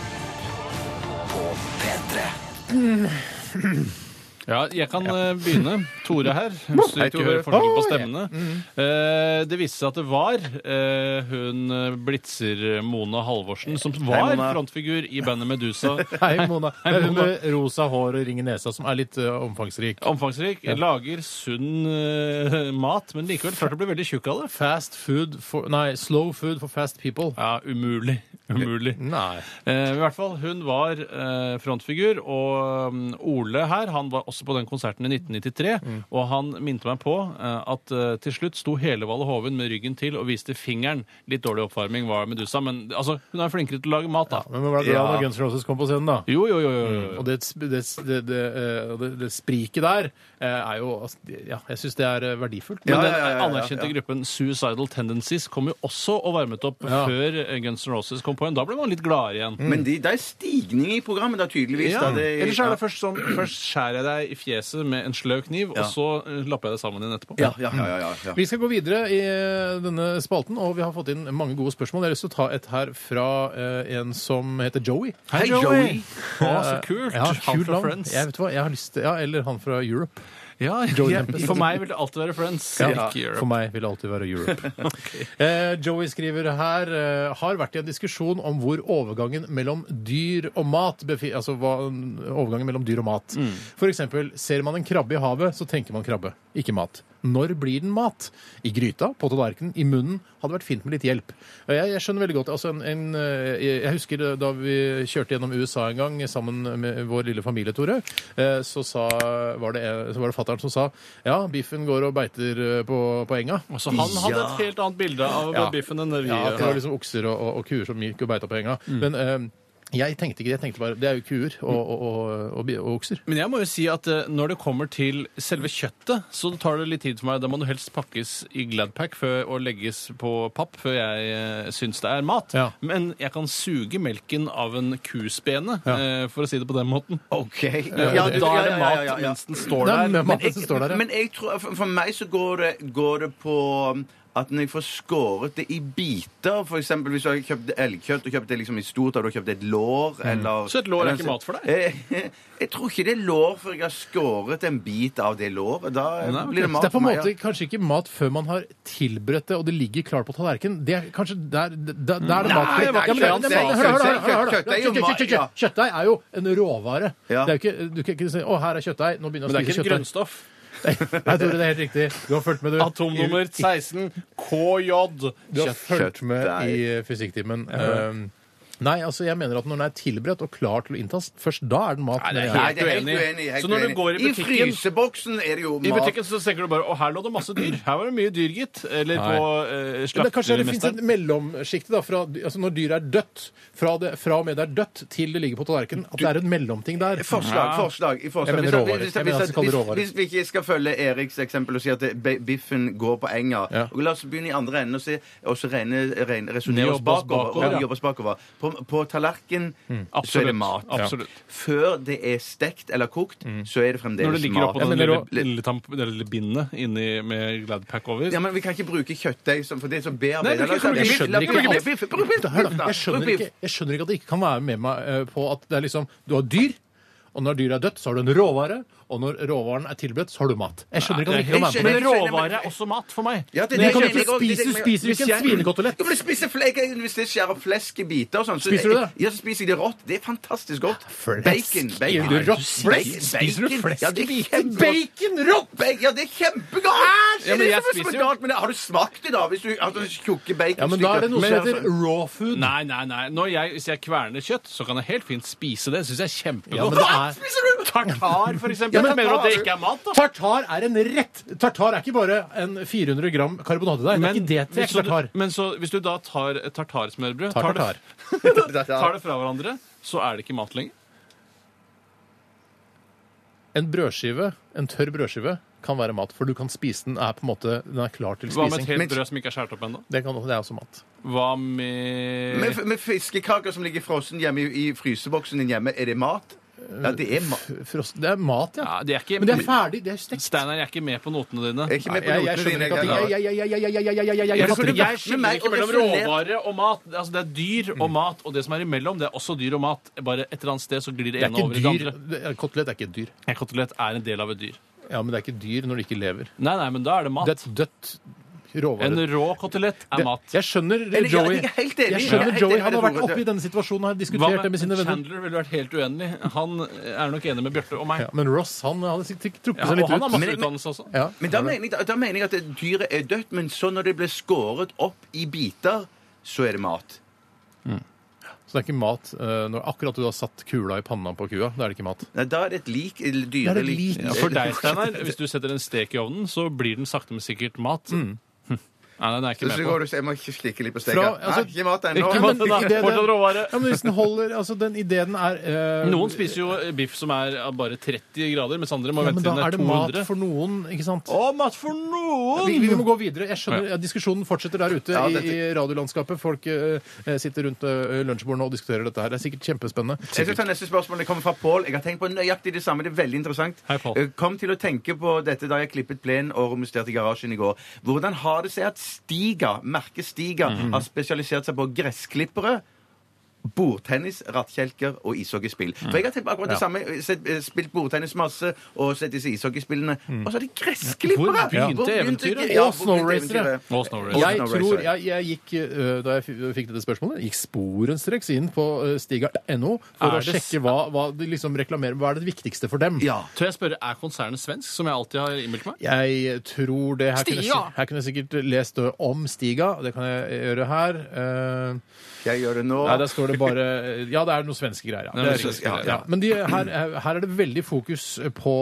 Ja, jeg kan eh, begynne. Tore her, hvis du Hei, ikke Tore. hører forskjell på Oi. stemmene. Mm. Eh, det viste seg at det var eh, hun eh, blitzer Mona Halvorsen, som var Mona. frontfigur i bandet Medusa. Hei, Mona. Hei, Det er hun Mona. med rosa hår og ring i nesa som er litt eh, omfangsrik. Omfangsrik, lager sunn eh, mat, men likevel klart å bli veldig tjukk av det. Fast food for Nei, slow food for fast people. Ja, umulig. Umulig. Nei. Eh, I hvert fall, hun var eh, frontfigur, og mm, Ole her, han var også på den konserten i 1993, Mm. og han minte meg på eh, at eh, til slutt sto hele Valle Hoven med ryggen til og viste fingeren. Litt dårlig oppvarming var Medusa, men altså, hun er flinkere til å lage mat, da. Men man var glad Ja. Mm, når Guns N' Roses kom på scenen, da. Jo, jo, jo. jo, jo. Og det, det, det, det, eh, og det, det spriket der eh, er jo altså, Ja, jeg syns det er eh, verdifullt. Men Ja, den ja, ja, ja, ja, anerkjente ja. gruppen Suicidal Tendencies kom jo også og varmet opp Ja. før eh, Guns N' Roses kom på igjen. Da ble man litt gladere igjen. Men de, det er stigning i programmet, da, tydeligvis. Ja. Da, Mm. det, Ellers er det først sånn Først skjærer jeg deg i fjeset med en sløv kniv, Ja. og så eh, lapper jeg det sammen igjen etterpå. ja, ja, ja, ja, ja, ja. Vi skal gå videre i eh, denne spalten, og vi har fått inn mange gode spørsmål. Jeg har lyst til å ta et her fra eh, en som heter Joey. Eh, Hei, Joey! Å, så kult! Ja, han kult fra navn. Friends. Jeg vet hva, jeg har lyst til, ja, Eller han fra Europe. Ja, Joey jeg- Tempest. for meg vil det alltid være Friends. Ja, Ikke Europe. For meg vil det alltid være Europe. eh, Joey skriver her eh, har vært i en diskusjon om hvor overgangen mellom dyr og mat befi altså hva, overgangen mellom dyr og mat. For eksempel, ser man en krabbe i havet, så tenker man krabbe, ikke mat. Når blir den mat? I gryta, på tallerkenen, i munnen. Hadde vært fint med litt hjelp. Og Jeg, jeg skjønner veldig godt altså en, en, eh, Jeg husker da vi kjørte gjennom USA en gang sammen med vår lille familie, Tore. eh, Så, sa, var det, så var det fattern som sa ja, biffen går og beiter eh, på, på enga. Altså, han hadde et helt annet bilde av Ja. biffen enn det vi Ja, at det var gjør. liksom okser og, og, og kuer som gikk og beita på enga. Mm. Men eh, jeg tenkte ikke det. Jeg tenkte bare Det er jo kuer og, og, og, og, bi- og okser. Men jeg må jo si at eh, når det kommer til selve kjøttet, så tar det litt tid for meg. Da må det helst pakkes i Gladpack før, og legges på papp før jeg eh, syns det er mat. Ja. Men jeg kan suge melken av en kuspene, Ja. eh, for å si det på den måten. OK. Eh, og da er det mat mens den står Nei, der. men maten Jeg, som står der, ja. men jeg tror, for, for meg så går det, går det på um, at når jeg får skåret det i biter for eksempel hvis du har kjøpt elgkjøtt og kjøpt det liksom i stort, har du kjøpt et lår eller Mm. Så et lår er eller- ikke mat for deg? Eh, Jeg tror ikke det er lår før jeg har skåret en bit av det låret. Da eh, Nei, ok. blir det Så mat det er på en for meg, måte kanskje ikke mat før man har tilberedt det, og det ligger klart på tallerkenen. Det er kanskje der, der, der er det mat Nei, Ja, det er men det- kjøtt, det- det- hør, hør, hør, hør, hør, hør. kjøtt- kjøttdeig er jo Kjøtt- kjøtt- mat, ja. kjøtt- Kjøttdeig er jo en råvare. Ja. Det er jo ikke, du kan ikke si 'Å, her er kjøttdeig', nå begynner Men jeg å det er spise ikke et kjøttdeig. grunnstoff. Nei, Tore, det er helt riktig. Du har fulgt med, du. Atomnummer 16 KJ. Du har fulgt med Kjøttdeig. i fysikktimen. Um, Nei, altså jeg mener at når den er tilberedt og klar til å inntas, først da er den mat. Nei, det er mener jeg. Nei, det er helt Helt uenig. uenig. Helt Så når du uenig. går i butikken- fryseboksen er det jo I mat. butikken så tenker du bare å, her lå det masse dyr. Her var det mye dyr, gitt. Eller Nei. på eh, Men det, er kanskje det finnes et slaktermesteren. mellomsjikt da, fra, altså når dyret er dødt, fra, det, fra og med det er dødt til det ligger på tallerkenen, at det er en mellomting der. Forslag, Ja. forslag. i forslag. Jeg mener Hvis at- råvarer. hvis- Jeg mener hvis- at vi kaller det råvarer. Hvis hvis vi ikke skal følge Eriks eksempel og si at det- be- biffen går på enga Ja. og La oss begynne i andre enden og, se, og så regne- regne- resonnere Jobbe oss oss bakover. bakover, og ja. jobbe oss bakover. På, på Mm. tallerken så er det mat. Absolutt. Før det er stekt eller kokt, Mm. så er det fremdeles mat. Når det ligger oppå Ja, den men- lille, lille, tamp- det lille bindet inni med Gladpack over. Ja, men Vi kan ikke bruke kjøttdeig som for det er så Nei, bearbeida. men kan du Jeg ikke- skjønner ikke, Bruk at- Hør da, jeg skjønner ikke, jeg skjønner ikke at det ikke kan være med meg eh, på at det er liksom, du har dyr, og når dyret er dødt, så har du en råvare, og når råvaren er tilberedt, så har du mat. Jeg skjønner ikke at det ikke kan være med Men jeg skjønner- råvare er også mat for meg. Ja, det- Men du kan det ikke skjønner jeg også. spise- Det- det- spiser ikke hvis en jeg- svinekotelett. Jo, men jeg spiser flek, jeg- hvis jeg skjærer flesk i biter og sånn. så- Spiser du det? Ja, så spiser jeg det rått. Det er fantastisk godt. Flesk? Bacon. bacon. Spiser du rått Bacon. flesk? Spiser du flesk Ja, i det er biter? kjempegodt. Bacon rått? Bacon, Ja, det er kjempegodt! Ja, men det jeg er som- spiser som jo- galt, men har du smakt det, da? Hvis du altså, tjukke bacon sånn- Ja, men da er det noe som heter raw food. Nei, nei, nei. Når jeg, hvis jeg kverner kjøtt, så kan jeg helt fint spise det. Syns jeg er Ja, kjempegodt. men det er... Spiser du Tartar, for eksempel. Ja, men- Mener du at det ikke er mat, da? Tartar er en rett. Tartar er ikke bare en 400 gram karbonadedeig. Det er ikke det til hvis, tartar. du, men så, hvis du da tar et tartarsmørbrød Tar tar, tartar. det- tar det fra hverandre, så er det ikke mat lenger. En brødskive, en tørr brødskive, kan være mat, for du kan spise den. Er på en måte, den er klar til Hva med et spising. helt Men- brød som ikke er skåret opp ennå? Det, kan, det er også mat. Hva med med, med fiskekaker som ligger frossen hjemme i, i fryseboksen din hjemme, er det mat? Ja, det er mat. F- Frost, det er mat, ja. Ja, det er ikke Men det er ferdig. Det er stekt. Steinar, jeg er ikke med på notene dine. Jeg er ikke med på Jeg, jeg notene skjønner dine, ikke at jeg- jeg, jeg, jeg, jeg, jeg, jeg, jeg, jeg, jeg, jeg, jeg, Jeg, fatter jeg, ikke. Men skiller meg- ikke mellom resonert- råvare og mat. Altså, det er dyr og mat, og det som er imellom, det er også dyr og mat. Bare et eller annet sted så glir det Det er ene over i det ikke dyr. andre. Det er- Kotelett er ikke et dyr. En kotelett er en del av et dyr. Ja, men det er ikke dyr når det ikke lever. Nei, nei, men da er det mat. Det er et dødt En råvare. rå kotelett er Det- mat. Jeg skjønner Eller, ja, Joey. jeg er helt enig. Jeg Jeg er skjønner helt Joey. enig med Han har det, vært Tore. oppe i denne situasjonen og har Hva diskutert det med med sine venner. Chandler ville vært helt uenig. Han er nok enig med Bjarte og meg. Ja, men Ross han hadde sikkert trukket Ja, seg og litt han har ut. masse Men- utdannelse også. Ja. Men da mener, jeg, da mener jeg at det- dyret er dødt, men så når det blir skåret opp i biter, så er det mat. Så det er ikke mat eh, når akkurat du har satt kula i panna på kua. Da er det ikke mat. Nei, da er det et lik. eller Da er det Dyrelik. et lik. Ja, for deg, Steinar, hvis du setter en stek i ovnen, så blir den sakte, men sikkert mat. Mm. Hm. Nei, den er jeg ikke Så med går på. du så jeg må ikke slikke litt på steka. Fra- altså- Nei, ikke mat ennå. Ikke men mat, da. ikke det- Fortsatt råvare. Ja, men hvis den holder, altså den ideen er eh, Noen spiser jo biff som er av bare 30 grader, mens andre må ja, vente men da til den er er det mat 200. for noen, ikke sant? Å, mat for noen! Vi, vi må gå videre. Jeg skjønner, ja, Diskusjonen fortsetter der ute Ja, i, dette- i radiolandskapet. Folk eh, sitter rundt eh, lunsjbordene og diskuterer dette her. Det er sikkert kjempespennende. Jeg skal ta neste spørsmål. Det kommer fra Pål. Jeg har tenkt på nøyaktig det samme. Det er veldig interessant. Hei, Pål. Jeg Kom til å tenke på dette da jeg klippet plenen og romusterte garasjen i går. Hvordan Mhm. har det seg at Stiga, merket Stiga, har spesialisert seg på gressklippere? Bordtennis, rattkjelker og ishockeyspill. For Mm. jeg har tenkt på akkurat det samme. Sett, eh, spilt bordtennis masse, og sett disse ishockeyspillene. Og så er det gressklippere! Mm. Hvor begynte eventyret? Ja, Og hvor begynte snowracere. eventyret? Og snowracere. Og Jeg tror snowracere. jeg, jeg gikk, øh, Da jeg fi- fikk dette spørsmålet, gikk sporenstreks inn på øh, stiga.no for Er å det s- sjekke hva, hva de liksom reklamerer. Hva er det viktigste for dem? Ja. Tør jeg spørre, er konsernet svensk, som jeg alltid har innbilt meg? Jeg tror det Her kunne jeg, Stiga! si- her kunne jeg sikkert lest øh, om Stiga. Det kan jeg gjøre her. Eh, Jeg gjør det nå. Nei, der står det bare Ja, det er noen svenske greier. Ja. Det er Det er svenske riktig. greier, ja. Men de, her, her er det veldig fokus på,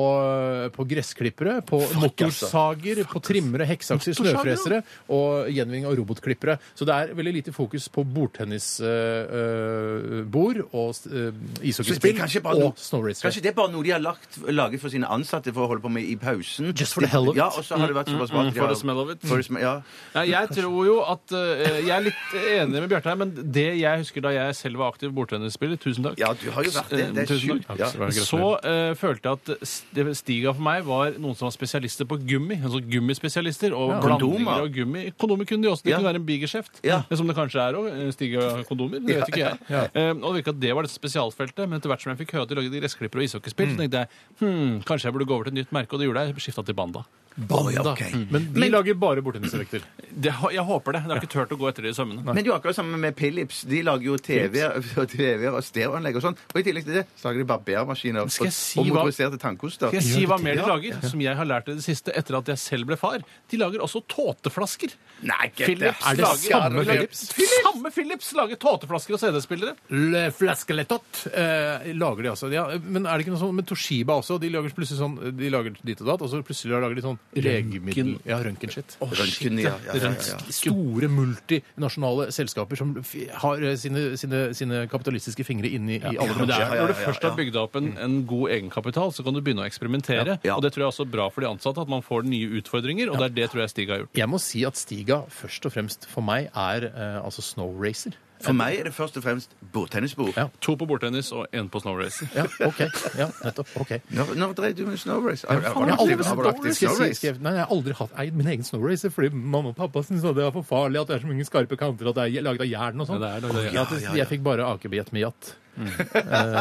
på gressklippere, på motorsager, på trimmere, hekseakser, Motorsager, snøfresere og gjenvinning av robotklippere. Så det er veldig lite fokus på bordtennisbord og øh, Så det er ishockeyspill kanskje bare noe- og snowracere. Kanskje det er bare noe de har lagt, laget for sine ansatte for å holde på med i pausen. Just for the hell of it. Mm, Ja, og så har det vært såpass bra. at de For har- the smell of it. For the smell- ja. Nei, jeg tror jo at eh, Jeg er litt enig med Bjarte her, men det jeg husker da jeg selv var aktiv bordtennisspiller Tusen takk. Eh, ja, du har jo vært det. Mm, Det er Tusen takk. sjukt. Ja. Ja, så- Så eh, følte jeg at s- det- Stiga for meg var noen som var spesialister på gummi. Altså gummispesialister og Kondomer. blandinger av gummi. Kondomer kunne de også. Det Ja. kunne være en bigeskjeft, Ja. som det kanskje er eh, òg. Stiga-kondomer. Det vet ikke jeg. Eh, og det virka at det var dette spesialfeltet, men etter hvert som jeg fikk høre at de lagde gressklippere og ishockeysspill, Mm. så tenkte jeg hm, kanskje jeg burde gå over til et nytt merke, og det gjorde jeg. Skifta til Banda. Å, ja, ok. Men de lager bare bordtenniseffekter. Det, har- jeg håper det. Jeg har ikke turt å gå etter det i sømmene. Men det er jo akkurat samme med Philips. De lager jo TV-er og, TV og stereoanlegg og sånn. Og i tillegg til det så lager de barbermaskiner Skal jeg og, si og hva- motoriserte tannkoster. Skal jeg si hva mer de Ja. lager, som jeg har lært i det siste etter at jeg selv ble far? De lager også tåteflasker. Nei, get the- Philips Er det lager- samme Philips? Samme Philips lager tåteflasker og CD-spillere. Le Flaskelettot eh, lager de altså. Ja, men er det ikke noe sånn med Toshiba også? De lager plutselig sånn De lager dit og datt, og så plutselig lager de sånn legemiddel... Ja, røntgenskitt. Røntgen, ja, ja, ja, ja, ja. Store multinasjonale selskaper som f har eh, sine, sine, sine kapitalistiske fingre inni i alle Men det er, bransjer. når du først har bygd opp en, en god egenkapital, så kan du begynne å eksperimentere. Ja. Og det tror jeg er også er bra for de ansatte, at man får nye utfordringer. Og det er det tror jeg Stig har gjort. Jeg må si at Stiga først og fremst for meg er eh, altså Snow Racer. For meg er det først og fremst bordtennisbord. Ja. To på bordtennis og én på snowracer. Ja, OK. Ja, nettopp. OK. Når, når drev du med snowrace? Ah, ja, Faen, var du jeg har aldri aktiv- var du aktiv skal jeg si- snowrace? skrev- Nei, jeg har aldri hatt eid min egen snowracer fordi mamma og pappa syntes at det var for farlig at det er så mange skarpe kanter at det er laget av jern og sånn. Ja, det er laget av jern. Ja, at Jeg fikk bare akebillett med jatt. Eh,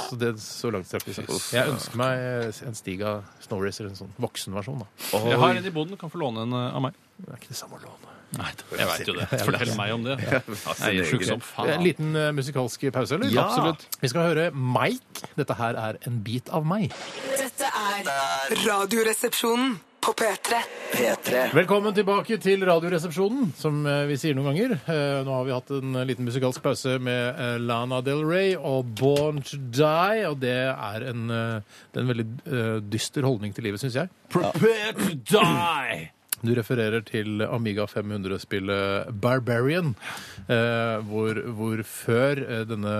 så det så langt strakk vi oss. Jeg ønsker meg en Stiga snowracer, en sånn voksenversjon. da. Jeg har en i boden, kan få låne en eh, av meg. Det er ikke det samme å låne. Nei, jeg veit jo det. Fortell meg om det. Altså, Jeg er sånn sjuk som En faen. liten eh, musikalsk pause, eller? Ja. Absolutt. Vi skal høre Mike. Dette her er En bit av meg. Dette er Radioresepsjonen på P3. P3. Velkommen tilbake til Radioresepsjonen, som eh, vi sier noen ganger. Eh, Nå har vi hatt en eh, liten musikalsk pause med eh, Lana Del Rey og Born to Die, og det er en, eh, det er en veldig eh, dyster holdning til livet, syns jeg. Prepare to die! Du refererer til Amiga 500-spillet Barbarian, eh, hvor, hvor før eh, denne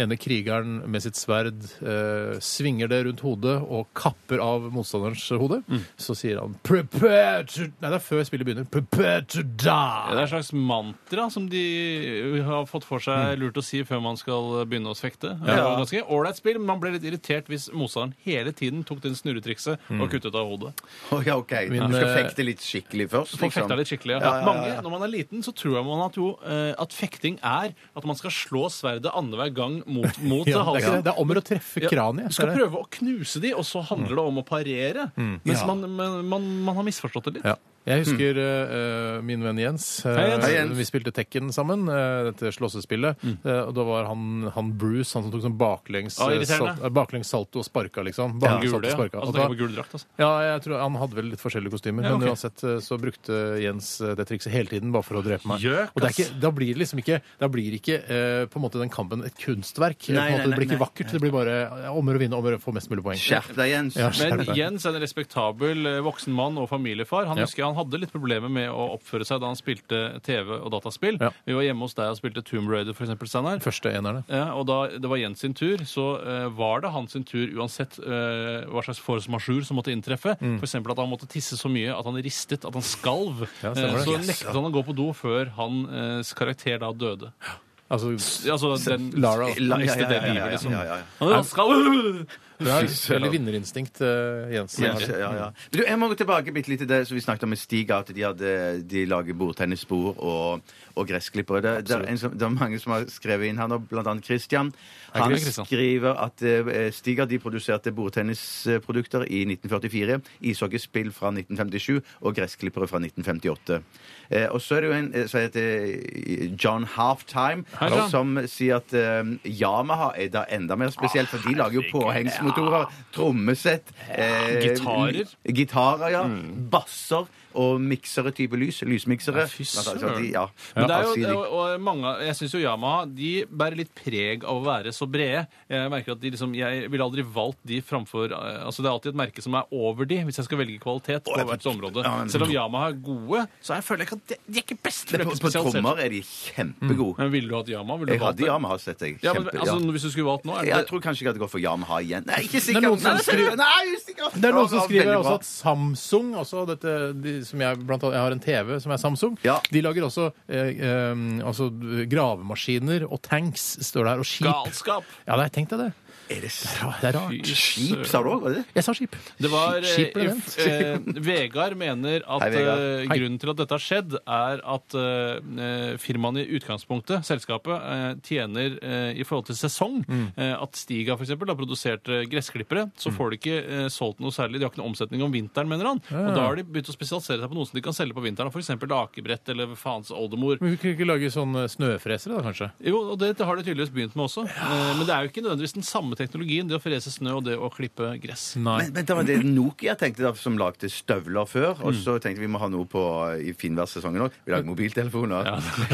ene krigeren med sitt sverd eh, svinger det rundt hodet og kapper av motstanderens hode, Mm. så sier han 'prepare to Nei, det er før spillet begynner. 'Prepare to Det er die'. et slags mantra som de har fått for Mm. seg lurt å si før man skal begynne å fekte. Det var ganske ålreit spill, men man ble litt irritert hvis motstanderen hele tiden tok den snurretrikset Mm. og kuttet av hodet. Å, ja, ok. Min, du skal eh, fekte litt skikkelig først, liksom. Folk fekta litt Ja, skikkelig. Ja. ja, ja, ja. Mange, når man er liten, så tror man at, jo, eh, at fekting er at man skal slå sverdet annenhver gang mot, mot Ja, det, er ikke halsen. det. det er om å treffe sånn Ja, kraniet. Du skal Det Mm. er det. prøve å knuse de, og så handler det om å parere. Mens man, men, man, man har misforstått det litt. Ja. Jeg husker eh, min venn Jens. eh, Hei, Jens. Hei, Jens. Vi spilte Tekken sammen, eh, dette slåssespillet. Eh, og da var han, han Bruce, han som tok sånn baklengs, Ah, eh, irriterende. sal- eh, baklengs salto og sparka, liksom. Den Baklengs salto og gule, ja. sparka. Altså, Og tenker på da, gul drakt, altså. ja, jeg tror Han hadde vel litt forskjellige kostymer, Ja, ok. men uansett eh, så brukte Jens eh, det trikset hele tiden bare for å drepe meg. Gjøk, og det er ass. ikke, da blir det liksom ikke Da blir ikke eh, på en måte den kampen et kunstverk. på Nei, en måte, nei, det blir nei, ikke vakkert. Det blir bare eh, om å gjøre å vinne, om å gjøre å få mest mulig poeng. Skjerp deg, Jens. Ja, skjerp Men deg. Jens er en respektabel eh, voksen mann og familiefar. Han Ja. husker han hadde litt problemer med å oppføre seg da han spilte TV og dataspill. Ja. Vi var hjemme hos deg og spilte Tomb Raider, for eksempel, Steinar. Første enerne. Ja, og da det var Jens sin tur, så eh, var det hans sin tur uansett eh, hva slags force majeure som måtte inntreffe. Mm. For eksempel at han måtte tisse så mye at han ristet, at han skalv. Ja, Eh, stemmer det. så Yes. nektet han å gå på do før hans karakter da døde. Altså Altså den Lara. Han Ja, ja, mistet ja, det ja, ja, livet, liksom. ja, ja, ja. Han skalv! Du har et søren. veldig vinnerinstinkt, eh, Jens. Ja, ja, ja. Men du, jeg må gå tilbake bitte litt til det som vi snakket om med Stig, at de, hadde, de lager bordtennisbord og, og gressklippere. Det, det, er en, som- det er mange som har skrevet inn her nå, blant annet Christian. Hei, Han Christian. skriver at eh, Stig de produserte bordtennisprodukter i 1944, ishockeyspill fra 1957 og gressklippere fra 1958. Eh, og så er det jo en eh, som heter John Halftime, Hei, John. som sier at eh, Yamaha er da enda mer spesielt, for de lager jo påhengsmotorer, trommesett eh, Gitarer. Gitarer, ja. Basser og miksere type lys. Lysmiksere. Ja, fy Altså, altså, søren. de- Ja. Men det er Altså, de- jo, og, og mange, av- jeg syns jo Yamaha de bærer litt preg av å være så brede. Jeg merker at de liksom, jeg ville aldri valgt de framfor eh, altså Det er alltid et merke som er over de, hvis jeg skal velge kvalitet på hvert område. ja, men- Selv om Yamaha er gode, så jeg føler jeg ikke at de, de er ikke best. for Men de på, er ikke på spesialisert. Mm. trommer er de kjempegode. Men ville du hatt Yamaha? Ville Jeg du valgt hadde det? Yamaha, sett jeg. Ja, men, Kjempe, altså, ja. Hvis du skulle valgt nå, er det Jeg tror kanskje ikke jeg hadde gått for Yamaha igjen. Nei, ikke Det er noen sikkert. som altså, Nei, skriver- Nei, usikker. Det er noen som Ja, skriver veldig også bra. at Samsung også dette, de, som jeg, blant annet, jeg har en TV som er Samsung. Ja. De lager også eh, eh, altså, gravemaskiner og tanks står der, og skip. galskap! Ja, nei, tenk deg det. Er det Ja, Det er rart. skip, sa du òg? Var det det? Jeg sa skip. Det var, eh, skip ble nevnt. f- eh, Vegard mener at Hei, Vegard. eh, Hei. grunnen til at dette har skjedd, er at eh, eh, firmaene i utgangspunktet, selskapet, eh, tjener eh, i forhold til sesong. Mm. Eh, at Stiga f.eks. har produsert eh, gressklippere. Så får de ikke eh, solgt noe særlig. De har ikke noe omsetning om vinteren, mener han. Og da har de begynt å spesialisere seg på noe som de kan selge på vinteren. F.eks. akebrett eller faens oldemor. Men vi kunne ikke lage sånne snøfresere, da, kanskje? Jo, og det har de tydeligvis begynt med også. Eh, Men det er jo ikke nødvendigvis den samme teknologien, det å frese snø og det å klippe gress. Nei. Men, men det var det Nokia tenkte da, som lagde støvler før. Mm. Og så tenkte vi må ha noe på i finværssesongen òg. Vi lager mobiltelefoner.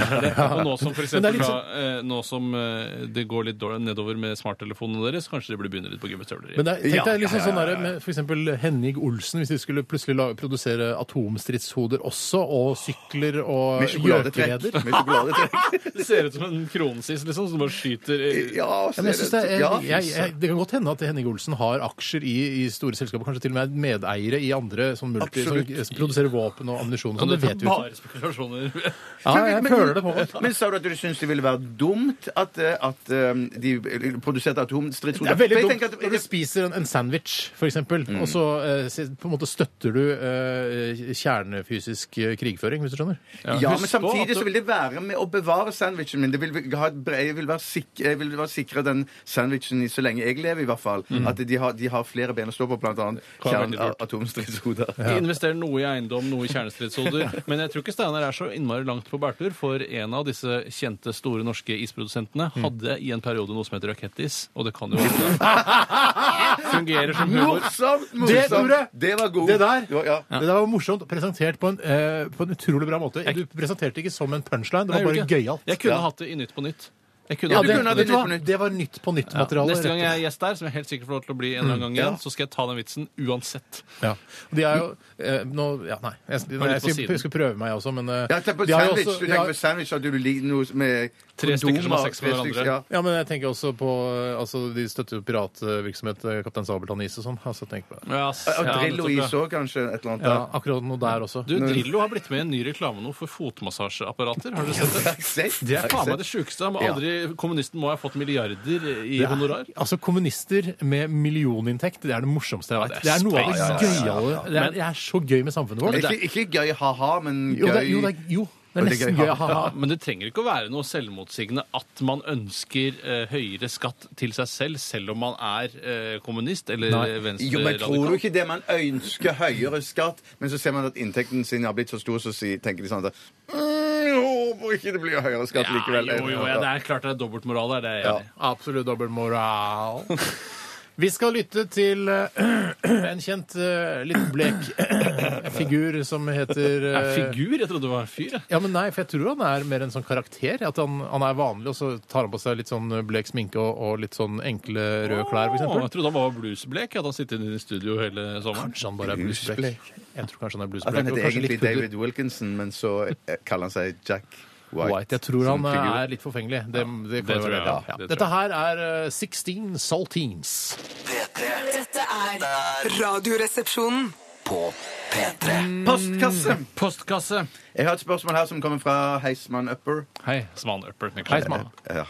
Og nå som, for Men det eksempel, er litt sånn- da, eh, nå som eh, det går litt dårlig nedover med smarttelefonene deres, kanskje de burde begynne litt på gummistøvler Men igjen. det er, tenk Ja, deg liksom ja, ja, sånn der med for eksempel Henning Olsen, hvis de skulle plutselig la, produsere atomstridshoder også, og sykler og Med sjokoladetrekk. gjøkereder. Med sjokoladetrekk. Det ser ut som en kronsis liksom, som bare skyter eh, Ja, Ja, men jeg synes det, er, ja, jeg, jeg, jeg, det kan godt hende at Henning Olsen har aksjer i, i store selskaper, kanskje til og med er medeiere i andre som, multi, som, Absolutt. som produserer våpen og ammunisjon. og sånn, Det det er vet vi jo ikke. Bare spekulasjoner. Ja, jeg Men- føler det på meg. Men sa du at du syns det ville være dumt at, eh, at eh, de produserte Det atomstridshoder? er veldig For jeg dumt tenker at- når du spiser en, en sandwich, for eksempel, og så eh, se- på en måte støtter du eh, kjernefysisk eh, krigføring, hvis du skjønner. Ja, men Husk på at samtidig du- så vil det være med å bevare sandwichen min. Det vil, ha et bre- jeg vil være sikre, jeg vil være sikre den sandwichen i- så lenge jeg lever, i hvert fall. Mhm. At de har, de har flere ben å stå på, blant annet Kan være veldig kjern- lurt. atomstridshoder. De investerer noe i eiendom, noe i kjernestridshoder. Men jeg tror ikke Steinar er så innmari langt på bærtur, for en av disse kjente, store norske isprodusentene Mm. hadde i en periode noe som heter rakettis, og det kan jo være Fungerer som humor. Morsomt! morsomt. Det, Tore! Det var god. Det der, Det var- ja. det der var morsomt presentert på en, eh, på en utrolig bra måte. Du presenterte ikke som en punchline, det Nei, var jeg bare gjorde ikke. gøyalt. Jeg kunne hatt det i Nytt på nytt. Jeg kunne Ja, hatt det, kunne hatt vet det du hva? Nytt på Nytt. det var Nytt på nytt-materiale. Neste gang jeg er gjest der, som jeg helt sikkert får lov til å bli en eller annen gang igjen, så skal jeg ta den vitsen uansett. Ja. Og De er jo eh, nå, ja, Nei, jeg, jeg, litt på skal, siden. jeg skal prøve meg også, men eh, Ja, tenk på de har jo sandwich. også- du ja, tenker på sandwich at du liker noe med Tre stykker som har sex med kondomer, tre stykker, hverandre. ja, men jeg tenker også på eh, altså, De støtter jo piratvirksomhet, eh, Kaptein Sabeltann Is og sånn. Altså, tenk på det. Ja, s- Ja. Og ja, Drillo Mm. nettopp, ja. is òg, kanskje. Et eller annet. Ja, der. akkurat noe der også. Du, Drillo har blitt med i en ny reklame nå for fotmassasjeapparater. Har dere sett det? Sex. Det er faen meg det sjukeste. Han må Aldri, kommunisten må ha fått milliarder i Det er- honorar. Altså, Kommunister med millioninntekt, det er det morsomste jeg Ja, vet. det Det er er noe av det space, gøyale Det er, det er så gøy med samfunnet vårt. Ikke, ikke gøy ha-ha, men gøy Jo, det, er- jo, det er, jo, det er det er nesten gøy, gøy. ja. Ha-ha. Ja, men det trenger ikke å være noe selvmotsigende at man ønsker eh, høyere skatt til seg selv, selv om man er eh, kommunist eller Nei. Jo, men tror du venstreradikal. ikke det? Man ønsker høyere skatt, men så ser man at inntekten sin har blitt så stor, så sier- tenker de sånn at «Mm, Nå må ikke det bli høyere skatt Ja, likevel. jo, jo, ja, det er klart det er dobbeltmoral der. Det er jeg Ja. enig i. Absolutt dobbeltmoral. Vi skal lytte til eh, en kjent, eh, litt blek eh, figur som heter Er det eh, Figur? Jeg trodde det var en fyr. jeg. Ja, men nei, for jeg tror han er mer en sånn karakter. At han, han er vanlig, og så tar han på seg litt sånn blek sminke og, og litt sånn enkle røde klær, Å, Jeg f.eks. trodde han var bluesblek. Hadde han sittet inne i studio hele sommeren? Kanskje han bare er Bluesblek. bluesblek. Jeg tror kanskje han er At han bluesblek. Og heter kanskje egentlig litt pudder. David Wilkinson, men så eh, kaller han seg Jack White. White. Jeg tror han som eh, figur. er litt forfengelig. Det, det, det kan jo tror være jeg, det. ja. Ja. Det tror jeg. Dette her er eh, 16 Saltines. P3 Dette er Radioresepsjonen. på P3. Postkasse! Postkasse. Jeg har et spørsmål her som kommer fra Heisman Upper. Hei, Sman Upper. Hei, Sman. Ja.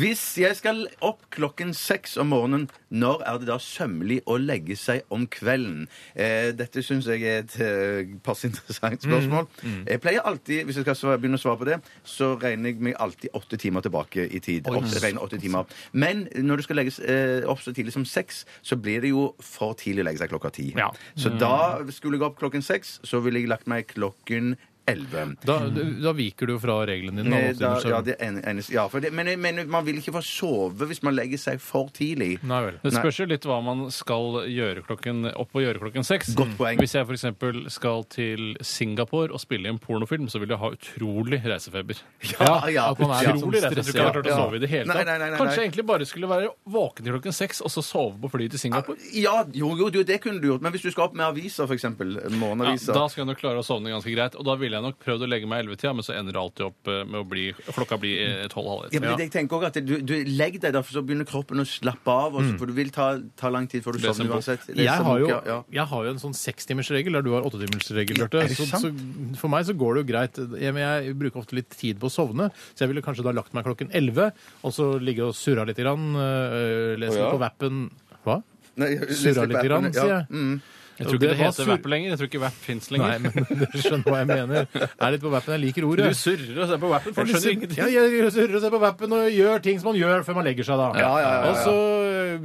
Hvis jeg skal opp klokken seks om morgenen, når er det da sømmelig å legge seg om kvelden? Eh, dette syns jeg er et eh, passe interessant spørsmål. Jeg pleier alltid, Hvis jeg skal svare, begynne å svare på det, så regner jeg meg alltid åtte timer tilbake i tid. Åtte, regner åtte timer. Men når du skal legges eh, opp så tidlig som seks, så blir det jo for tidlig å legge seg klokka ti. Ja. Så da skulle jeg opp klokken seks, så ville jeg lagt meg klokken elleve. Da, da viker du jo fra reglene dine. Eh, da, Da, Åse ja, Gundersen. det en, eneste- ja, for det, men jeg mener, man vil ikke få sove hvis man legger seg for tidlig. Nei vel. Det spørs jo litt hva man skal gjøre klokken, opp og gjøre klokken seks. Godt poeng. Hvis jeg f.eks. skal til Singapore og spille i en pornofilm, så vil jeg ha utrolig reisefeber. Ja, ja. At man er Ja. utrolig redd for at du ikke har klart å Ja. sove i det hele Nei, tatt. nei, nei, nei, Kanskje nei. jeg egentlig bare skulle være våken til klokken seks og så sove på flyet til Singapore? Ja, jo, jo, jo, det kunne du gjort. Men hvis du skal opp med aviser, f.eks. Ja, Morgenaviser da skal jeg nok klare å sovne ganske greit. Og da ville jeg nok prøvd å legge meg i 11-tida, men så ender det alltid opp eh, med å bli Klokka blir tolv-halv ja, ett. men det- jeg tenker også at du, du Legg deg, da, for så begynner kroppen å slappe av. Og Mm. så, for du vil ta, ta lang tid før du Det er sovner som bok. uansett. Det er Jeg som har, bok, jo, ja, ja. jeg har jo en sånn sekstimersregel der du har åttetimersregel, Ja, Bjarte. er det Så, sant? så for meg så går det jo greit. Jeg, men jeg bruker ofte litt tid på å sovne, så jeg ville kanskje da lagt meg klokken elleve og så ligge og surra litt, grann, øh, lese Å, ja. litt på Vappen Hva? Nei, jeg- Surra litt, grann, ja. sier jeg. Mm. Jeg tror ikke det, var heter sur- Vapp lenger. Jeg tror ikke Vapp fins Nei, lenger. men du skjønner hva jeg mener. Jeg er litt på Vappen. Jeg liker du ordet. surrer og ser på Vappen, for du skjønner ingenting. Ja, jeg surrer og ser på vappen og gjør ting som man gjør før man legger seg, da. Ja, ja, ja, ja. Og så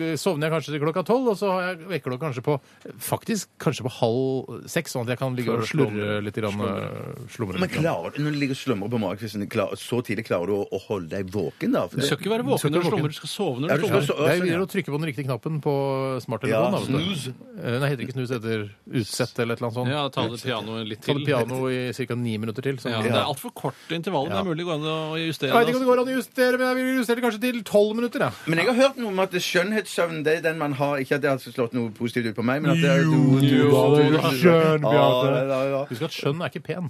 eh, sovner jeg kanskje til klokka tolv, og så har jeg vekkerklokka kanskje på faktisk kanskje på halv seks, sånn at jeg kan ligge og Før du slurre litt. Grann, eh, slumre Men litt. grann. klarer du, når du ligger og slumrer på magekvisten, klar- så tidlig klarer du å, å holde deg våken, da? For Du det- skal ikke Du være skal våken når ikke du være slummer, du skal sove Ja, du når du skal slummer. så- Det er jo sånn, ja. gøyere å trykke på den riktige knappen på Ja, smarttelefonen. da, vet du. snooze. Eh, Nei, heter det ikke snus etter utsett eller et eller annet sånt. Ja, ta det pianoet litt Ta til. det piano i ca. ni minutter til. Sånn. Ja, det er altfor kort intervall. Det Ja. er mulig å gå an å justere. Jeg vet ikke om altså. det går an å justere, men jeg vil justere kanskje til tolv minutter. Ja. Men jeg har hørt noe om at skjønnhetssøvn det er den man har Ikke at det har slått noe positivt ut på meg, men at det er Jo, du er skjønn, Bjarte. Ja, det er- det er- ja. Husk at skjønn er ikke pen.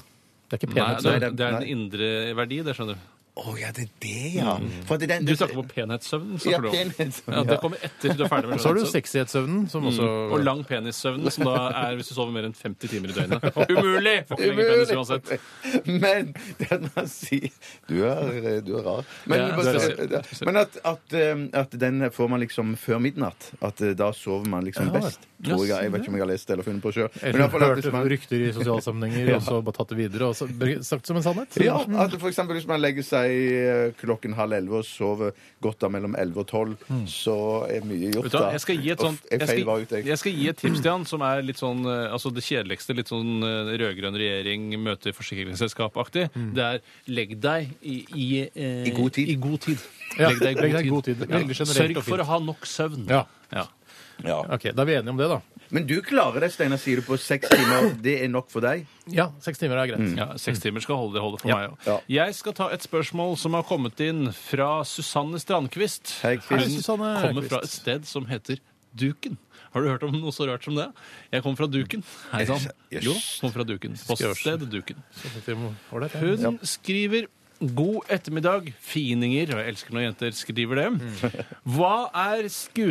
Det er ikke Nei, penhet. det Nei, er, det- det er en nei. indre verdi, det skjønner du. Å ja, det er det, ja. For at det er den, Mm. Du snakker om penhetssøvn. ja, snakker du om. penhetssøvn, Ja, det kommer etter du er ferdig med Så har du skjønnhetssøvn. sexighetssøvnen, som også Mm. Og lang penissøvn, som da er hvis du sover mer enn 50 timer i døgnet. Umulig! Får ikke lenger penis uansett. Men det at man sier Du er, du er rar. Men, Ja, bare, du er rar. men at, at, um, at den får man liksom før midnatt. At uh, da sover man liksom best. Ja, Tror jeg, jeg si vet ikke om jeg har lest det eller funnet på sjøl. Eller hørt rykter i sosiale sammenhenger, og så bare tatt det videre og så br- sagt som en sannhet. Ja, Mm. at for eksempel hvis man legger seg eh, klokken halv elleve og sover godt da mellom elleve og tolv, så er mye gjort Mm. Vet du hva, da. jeg skal gi et Og sånt f- jeg Jeg feil var skal, ute, jeg. jeg skal gi et tips til han som er litt sånn eh, altså det kjedeligste. Litt sånn eh, rød-grønn regjering møter forsikringsselskap-aktig. Det er legg deg i, i, eh, I god tid. I god tid. Ja, Legg deg i god tid. Veldig generelt Sørg og for fint. å ha nok søvn. Ja. Ja. Ja. Ok, Da er vi enige om det, da. Men du klarer det, Steinar, sier du på seks timer. Det er nok for deg? Ja, Seks timer er greit. Ja, Seks timer skal holde det holde for Mm. Ja. meg òg. Jeg skal ta et spørsmål som har kommet inn fra Susanne Strandquist. Hei, Chris. Hun Hei, Susanne kommer Strandquist. fra et sted som heter Duken. Har du hørt om noe så rart som det? Jeg kom fra Duken. Hei sann. Jøss. Jo, kom fra Duken. Poststed sånn? Duken. Seks timer. Ålreit, ja. Hun skriver God ettermiddag, fininger. Og jeg elsker når jenter skriver det. Hva er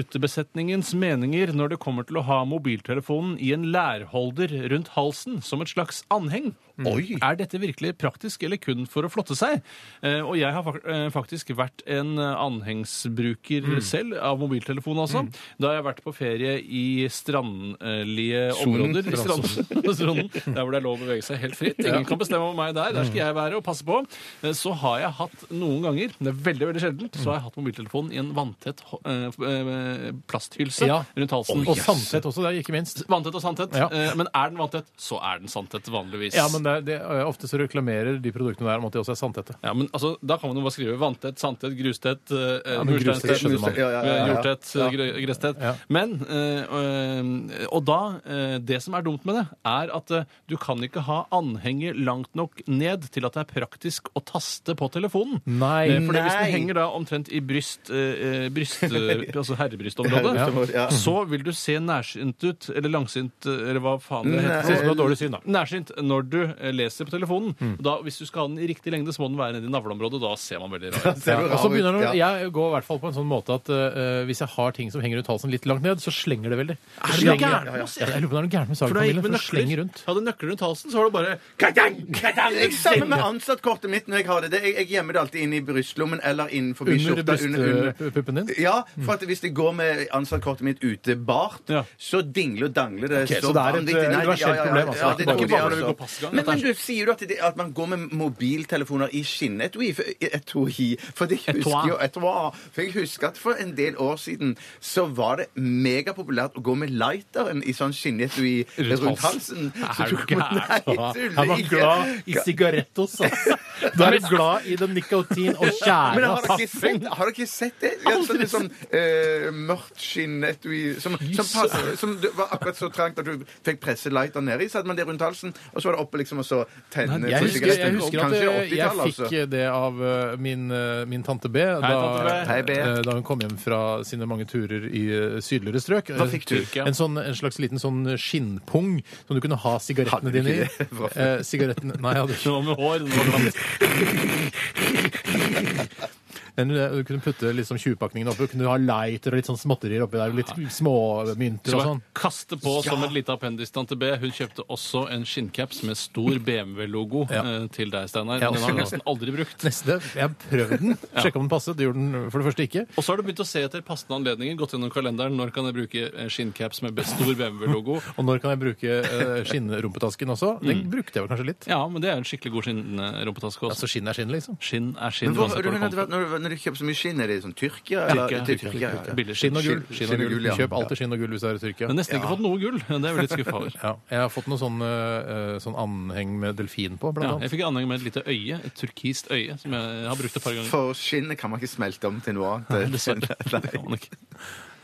skutebesetningens meninger når det kommer til å ha mobiltelefonen i en lærholder rundt halsen som et slags anheng? Oi! Er dette virkelig praktisk eller kun for å flotte seg? Eh, og jeg har fak eh, faktisk vært en eh, anhengsbruker selv, av mobiltelefon altså. Da har jeg vært på ferie i strandlige områder. I strand- Stranden, der hvor det er lov å bevege seg helt fritt. Ingen kan bestemme over meg der. Der skal jeg være og passe på. Eh, så har jeg hatt noen ganger, men det er veldig veldig sjeldent, så har jeg hatt mobiltelefonen i en vanntett ho- eh, f- eh, plasthylse Ja. rundt halsen. Og sandtett også, det er ikke minst. Vanntett og sanntett. Ja. Eh, Men er den vanntett, så er den sanntett vanligvis. Ja, men det, er- det, er- Ofte så reklamerer de produktene der om at de også er sandtette. Ja, men altså, Da kan man jo bare skrive vanntett, sandtett, grustett, eh, men grustett mursteinstett, skjønner man. Ja, ja, ja, ja. jordtett, eh, gre- gresstett. Ja. Men, eh, eh, Og da eh, Det som er dumt med det, er at eh, du kan ikke ha anhenger langt nok ned til at det er praktisk å taste på telefonen. Nei. Eh, fordi hvis Nei. den henger da omtrent i bryst, eh, eh, bryst eh, altså herrebrystområdet, Herrebrystområdet, ja. så vil du se nærsynt ut, eh, eller langsynt, eller hva faen det Nei. heter. Sånn som du har dårlig syn, da. Nærsynt når du eh, leser på telefonen. Da, hvis du skal ha den i riktig lengde, så må den være nedi navleområdet. Da ser man veldig rar ut. Ja, Ser du og så rar ut? begynner det, Ja. Jeg går i hvert fall på en sånn måte at eh, hvis jeg har ting som henger ut halsen litt langt ned, så slenger det veldig. Er det Slenger- noe gærent med Ja, ja. oss? Jeg lurer på om det er noe gærent med For da jeg Sagen-familien, gikk med for det slenger nøkler, rundt. hadde nøkler rundt halsen, så var det bare Katang! Katang! Jeg sammen med ansattkortet mitt når jeg har det. det jeg, jeg gjemmer det alltid inn i brystlommen eller inn forbi Under skjorta. brystpuppen din. Ja, for at hvis det går med ansattkortet mitt ute bart, Ja. så dingler og dangler det. så det er et, vanvittig. eh, Nei, universelt problem, altså. det er Det er ikke dårlig, bare når vi altså. går passgang, Men, dette men du sier jo at, det, at man går med mobiltelefoner i skinnetui. for- Etui. For det Etui. husker jo etui. For jeg husker at for en del år siden så var det megapopulært å gå med lighteren i sånn skinnetui Rundt rundt halsen. halsen. Er du tok man- gæren? Nei, tuller Er altså? man ikke. glad i sigarettos, altså? Da er du glad i den nikotin og Men tjære har og dere ikke kaffen. sett, har dere ikke sett det? Ja, sånn, litt sånn eh, mørkt skinnetui som, som, passer- som det var akkurat så trangt at du fikk presse lighteren nedi. Så hadde man det rundt halsen, og så var det oppe liksom og så tenne Jeg på husker, jeg sigaretten. husker at Kanskje jeg, jeg 80-tallet, altså. fikk det av eh, min, eh, min tante B, tante B. da, Hei, B. eh, da hun kom hjem fra sine mange turer i eh, sydligere strøk. Hva fikk du? En, sånn, en slags liten sånn skinnpung som du kunne ha sigarettene Hadde du dine i. ikke det? Hva for- Eh, Sigarettene Nei, jeg hadde ikke Nå med hår. Nå med langt. den. eh, Du kunne putte liksom 20-pakningene oppi, kunne ha lighter og litt sånn småtterier oppi der, og litt småmynter Skal og bare sånn. kaste på som et lite appendis tante B. Hun kjøpte også en skinncaps med stor BMW-logo Ja. eh, til deg, Steinar. Ja, Den har også. hun nesten aldri brukt. Neste. Jeg har prøvd den. Sjekka om den passet. Det gjorde den for det første ikke. Og så har du begynt å se etter passende anledninger. Gått gjennom kalenderen. Når kan jeg bruke eh, skinncaps med best- stor BMW-logo? Og når kan jeg bruke eh, skinnrumpetasken også? Den brukte jeg vel kanskje litt. Mm. Ja, men det er jo en skikkelig god skinnrumpetaske også. Altså skinn er skinn, liksom. Skinn er skinn. Men hvor, du, uansett hvor det mener at det kommer var- når, du- når du kjøper så mye skinn, er det sånn Tyrkia? eller- Tyrkia. til Tyrkia, ja, fra. ja. Billig Skinn og gull. Skinn og gull, ja. Kjøp alltid skinn og gull hvis du er i Tyrkia. Men nesten ikke fått noe gull. Det er vi litt skuffa over. Ja, jeg har fått noe sånn, eh, sånn anheng med delfin på, Ja, blant jeg annet. fikk anheng med et lite øye, et turkist øye, som jeg har brukt et par ganger. For skinnet kan man ikke smelte om til noe annet. Dessverre. Det kan man ikke.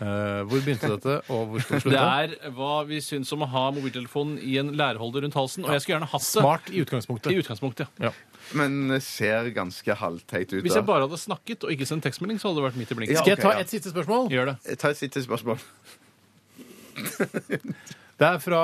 Eh, hvor begynte dette, og hvor skal det Det slutte? er hva vi syns om å ha mobiltelefonen i en lærholder rundt halsen. Og jeg skulle gjerne hatt det Smart i utgangspunktet. i utgangspunktet. Ja. ja. Men ser ganske halvteit ut. Hvis jeg da. bare hadde snakket og ikke sendt tekstmelding, så hadde det vært midt i blinken. Ja, Skal jeg ta ok, ja. et siste spørsmål? Gjør det. Eh, Ta et siste spørsmål. Det er fra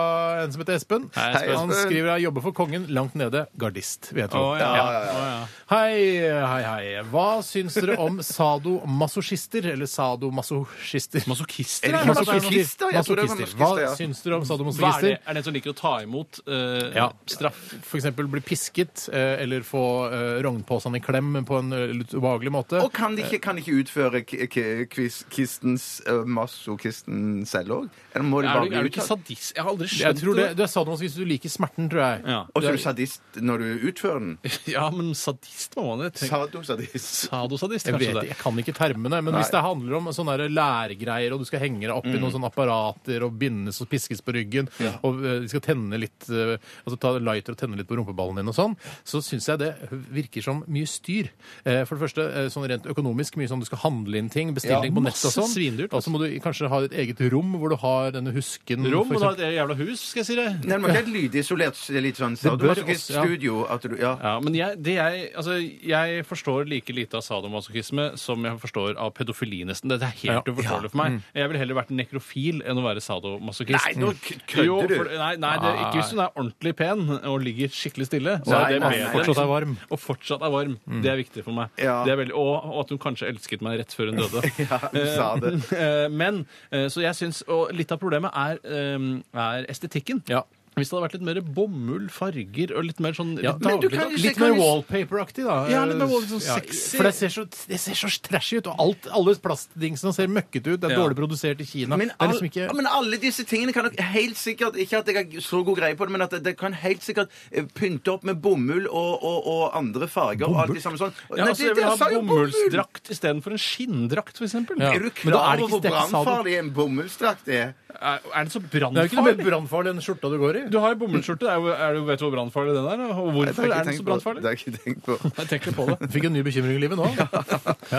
en som heter Espen. Hei, Espen. Han Espen. skriver jeg jobber for kongen langt nede. Gardist, vet du. Å, ja. Ja, ja, Å, ja. Hei, hei, hei. Hva syns dere om sadomasochister? Eller sadomasochister? Masochister? Er det er ikke det masochister? Jeg tror det var Masochister. Hva masochister, ja. syns dere om Hva er det? sadomasochister? Er det en som liker å ta imot eh, Ja. straff? F.eks. bli pisket, eh, eller få eh, rognposen i klem på en eh, litt ubehagelig måte. Og kan de ikke, kan de ikke utføre k k quiz- kistens uh, masochisten selv òg? Eller må de Er bare du, bli er du ikke uttatt? sadist? Jeg har aldri Jeg skjønt tror det, du er sadomasochist hvis du liker smerten, tror jeg. Ja. Og så er du sadist når du utfører den? ja, men sadist må man det. tenke. Sadosadist. Sadosadist, Jeg, kanskje vet, det. jeg kan ikke termene, men hvis det handler om sånne der lærgreier, og du skal henge deg opp i Mm. noen sånne apparater og bindes og piskes på ryggen, og eh, de skal tenne litt eh, altså ta lighter og tenne litt på rumpeballen din og sånn, så syns jeg det virker som mye styr. Eh, For det første eh, sånn rent økonomisk, mye sånn du skal handle inn ting, bestille Ja, ting på nett og masse sånn. svindyrt, altså. Og så må du kanskje ha et eget rom hvor du har denne husken. Rom for og da eksempel. et jævla hus, skal jeg si det. Nei, man kan ikke lydisolert så det er litt sånn bør også, ja. sadomasochist-studio. At du Ja. Ja, men jeg, det jeg, altså, jeg forstår like lite av sadomasochisme som jeg forstår av pedofili, nesten. Dette er helt Ja. Mm. uforståelig for meg. Jeg ville heller vært nekrofil enn å være sadomasochist. Nei, nå k- kødder Jo, du. Ah. for- Nei, nei det, ikke hvis hun er ordentlig pen og ligger skikkelig stille. Så Nei, er det nei, bedre. nei, fortsatt er varm. Og fortsatt er varm. Det er viktig for meg. Mm. Ja. Det er veldig, og, og at hun kanskje elsket meg rett før hun døde. du sa det. Eh, Men, eh, så jeg syns Og litt av problemet er, eh, er estetikken. Ja. Hvis det hadde vært litt mer bomull, farger og litt mer sånn Ja, litt men du litt, kan jo se- litt kan mer jo- wallpaper-aktig, da. Ja, litt mer wall- liksom sånn Ja, sexy. For det ser, så, det ser så trashy ut, og alt, alle plastdingsene ser møkkete ut. Det er Ja. dårlig produsert i Kina. Men, det er all, liksom ikke... ja, men alle disse tingene kan nok helt sikkert Ikke at jeg har så god greie på det, men at det, det kan helt sikkert eh, pynte opp med bomull og, og, og andre farger. Og alt det samme sånn. Ja, Nei, det- altså, jeg det- vil ha jeg sa jo bomull! bomullsdrakt istedenfor en skinndrakt, f.eks. Ja. Er du Men da klar er det over ikke hvor stekk sado. brannfarlig en bomullsdrakt er? Er, er det så det er jo ikke noe mer brannfarlig? brannfarlig enn skjorta du går i. Du har jo bomullsskjorte. Er, jo- er, du- vet du hvor brannfarlig den er? Og Nei, hvorfor det har jeg er ikke den tenkt på. så Det brannfarlig? har jeg ikke tenkt på, Jeg tenker på det. Fikk en ny bekymring i livet nå. Ja.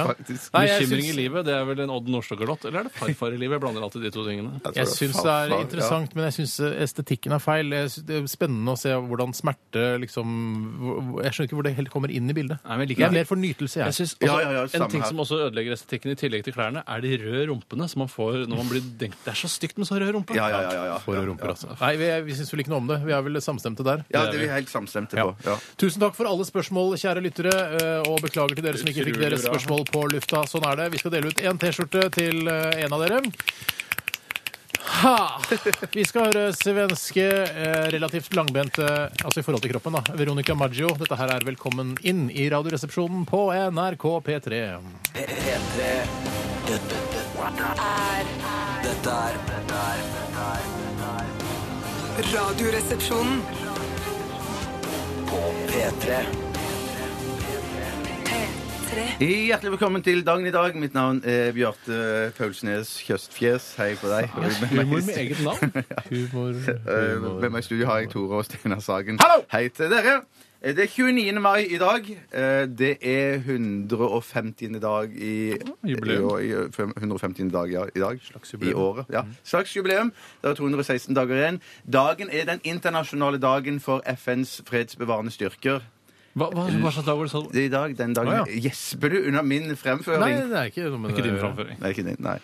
faktisk. Nei, jeg Bekymring i syns- livet, det er vel en Odd Nordstoga-låt? Eller er det farfar i livet? Jeg blander alltid de to tingene. Jeg syns det er Farfar, interessant, men jeg syns estetikken er feil. Jeg synes det er spennende å se hvordan smerte liksom hvor- Jeg skjønner ikke hvor det helt kommer inn i bildet. Nei, men jeg liker jeg er det. mer for nytelse, jeg. Jeg synes også, Ja, ja, ja, samme En ting her. som også ødelegger estetikken i tillegg til klærne, er de røde rumpene som man får når man blir denkt. Det er så stygt med så rød rumpe. Ja, ja, ja. ja, ja. for rumper, altså. Nei, vi, vi syns syns vel ikke noe om det. Vi er vel samstemte der. Ja, det er vi helt samstemte på. Ja. Tusen takk for alle spørsmål, kjære lyttere. eh, Og beklager til dere som ikke fikk deres spørsmål på lufta. Sånn er det. Vi skal dele ut en T-skjorte til eh, en av dere. Ha! Vi skal høre svenske, eh, relativt langbente Altså i forhold til kroppen, da. Veronica Maggio. Dette her er Velkommen inn i Radioresepsjonen på NRK P3. P- P3 Dette dette- Dette er Dette er Radioresepsjonen. På P3 P3. Hjertelig velkommen til dagen i dag. Mitt navn er Bjarte Paulsnes Kjøstfjes. Hei på deg. Og med meg- Humor med eget navn. Humor, Eh, humor. Med meg i studio har jeg Tore og Steinar Sagen. Hallo! Hei til dere. Eh, Det er 29. mai i dag. Eh, Det er 150. Ah, dag i i Jubileum. år- i- fem- 150. dag ja, i dag. Slags jubileum. Mm. I året. Ja. Slags jubileum. Det er 216 dager igjen. Dagen er den internasjonale dagen for FNs fredsbevarende styrker. Hva, hva, hva slags dag var det sånn? Det er i dag, den dagen Å, ja. Gjesper du under min fremføring? Nei, det er ikke noe med Ikke din å gjøre. framføring. Nei, ikke din. Nei.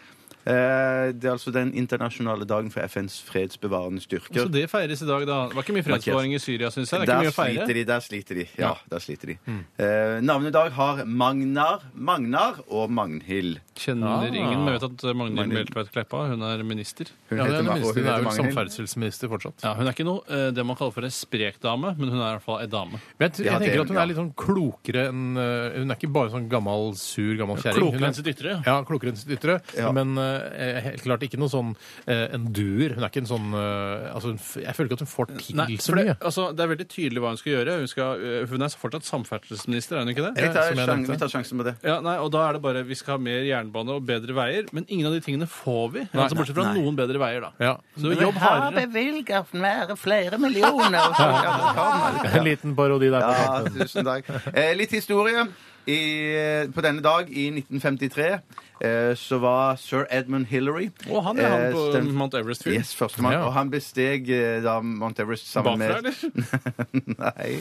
Eh, Det er altså den internasjonale dagen for FNs fredsbevarende styrker. Altså, Så det feires i dag, da. Det var ikke mye fredsbevaring i Syria, syns jeg. Det er ikke Der mye å feire. sliter de. der sliter de. Ja, Ja. Mm. der sliter de. Eh, navnet i dag har Magnar, Magnar og Magnhild. Kjenner Ah. ingen, men jeg vet at Magnhild Magnhild. Meltveit Kleppa, hun er minister. Hun Ja, det er Ma- den minste. og hun Hun er vel Magnhild. samferdselsminister fortsatt. Ja, Hun er ikke noe eh, det man kaller for en sprek dame, men hun er i hvert fall ei dame. Men jeg, tror- Ja, jeg det- tenker at hun ja. er litt sånn klokere enn eh, Hun er ikke bare sånn gammel, sur, gammel kjerring. Hun Klokere er- enn sitt ytre. Ja, klokere enn sitt ytre. Ja. Men eh, helt klart ikke noe sånn eh, en duer. Hun er ikke en sånn eh, altså, hun f- Jeg føler ikke at hun får til Nei, så for det, mye. altså, det er veldig tydelig hva hun skal gjøre. Hun, skal, eh, hun er fortsatt samferdselsminister, er hun ikke det? Jeg tar som jeg sjan- nevnte. Vi tar sjansen på det. Ja, nei, og da er det bare Vi skal ha mer jernbane og bedre veier, men ingen av de tingene får vi. altså, bortsett fra noen bedre veier, da. Ja. Så jobb hardere. bevilget flere, flere millioner. En liten parodi der. på Ja, kanten. tusen takk. Eh, litt historie. I, på denne dag i 1953 eh, så var sir Edmund Hillary Og han er eh, han på den- Mount Everest-fyren. Yes, førstemann. Ja. Og han besteg eh, da Mount Everest sammen Bakfra, med eller? Nei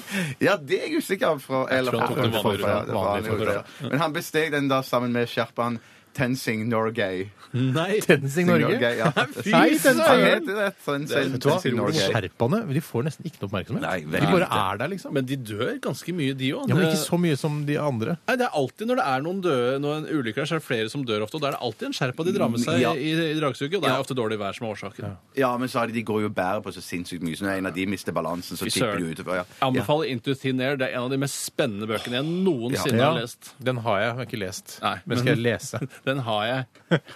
Ja, det er jeg usikker på. Eller tror han tok den fra- vanlige fra- ruta. det var Vanlige vanlige ruta. ruta. Men han besteg den da sammen med sherpaen Tenzing Norgay. Nei. Tensing Norge. Norgay, ja. Nei, Han Tensing heter det. Tenzing- Vet du hva? Tenzing Norgay. Sherpaene de får nesten ikke noe oppmerksomhet. Nei, veldig de bare er der, liksom. Men de dør ganske mye, de òg. Ja, men ikke så mye som de andre. Nei, det er alltid Når det er noen døde, når en ulykke er, så er det flere som dør ofte. Og da er det alltid en sherpa de drar med Mm, seg Ja. i, i dragsuget, og det er ofte dårlig vær som er årsaken. Ja, men så har de, de går jo og bærer på så sinnssykt mye. Så når en av de mister balansen, så Fy tipper de søren. utover. Ja. Jeg anbefaler Into Thin Air. Det er en av de mest spennende bøkene jeg noensinne Ja, har lest. Den har jeg, jeg har ikke lest. Nei, men skal jeg lese? Den har jeg.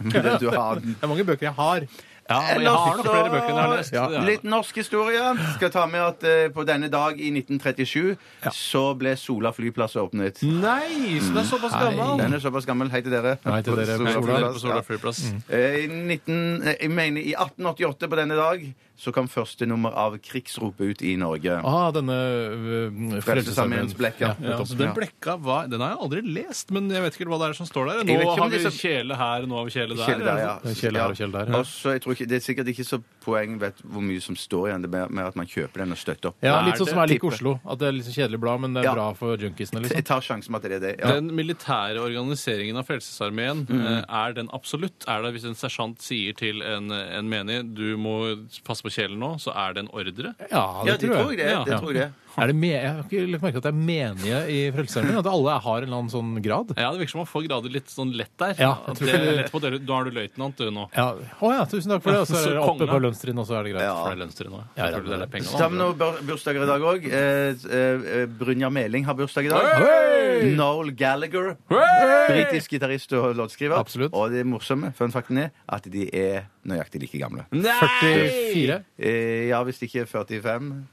Men Du har den. Det er mange bøker jeg har. Ja, og jeg har nok så- flere bøker enn jeg har lest. Ja. Det er- Litt norsk historie. Skal ta med at eh, på denne dag i 1937 så ble Sola flyplass åpnet. Nei, så det er såpass gammel! Mm. Den er såpass gammel. Hei til dere. Hei til dere på Sola Jeg Sola. flyplass, studerer på Sola ja. flyplass. Eh, I, 19, eh, jeg mener, I 1888 på denne dag så kom første nummer av Krigsropet ut i Norge. Ah, denne øh, Frelsesarmeens blekk, ja. eh, Ja, så den blekka var, den har jeg aldri lest, men jeg vet ikke hva det er som står der. Jeg vet Nå ikke om har vi det er så- kjele her, nå har vi kjele der. altså. Kjell der, ja. Det er Kjell her og Kjell der, ja. Og så, jeg tror ikke, det er sikkert ikke så poeng vet hvor mye som står igjen. Det er mer- mer at man kjøper den og støtter opp. Ja, Er litt sånn det som er lik tippet? Oslo. At det er litt sånn kjedelig blad, men det er Ja. bra for junkiesene. Jeg Liksom. tar sjansen med at det er det. Ja. Den militære organiseringen av Frelsesarmeen, eh, er den absolutt? Er det hvis en sersjant sier til en, en menig du må passe på kjelen nå, så er det en ordre? Ja, Ja, det tror jeg det. er. Ja. det tror jeg. det er. Er det me jeg har ikke lagt merke til at det er menige i Frelsesarmeen. At alle har en eller annen sånn grad. Ja, det virker som man får grader litt sånn lett der. Ja, jeg At tror det er det- lett på å dele ut. Nå er du løytnant, du nå. Ja. Å ja, tusen takk for det. Og så er det Så oppe kongen, på da. lønnstrinn, og så er det greit. Ja. For det er lønnstyret nå. Ja, Jeg ja, føler det ja. er penger Så har vi nå. noen bur- bursdager i dag òg. Eh, eh, eh, Brynjar Meling har bursdag i dag. Hei! Noel Gallagher. Britisk gitarist og låtskriver. Absolutt. Og det morsomme fun facten er at de er nøyaktig like gamle. Nei! 44. Eh, ja, hvis det ikke er 45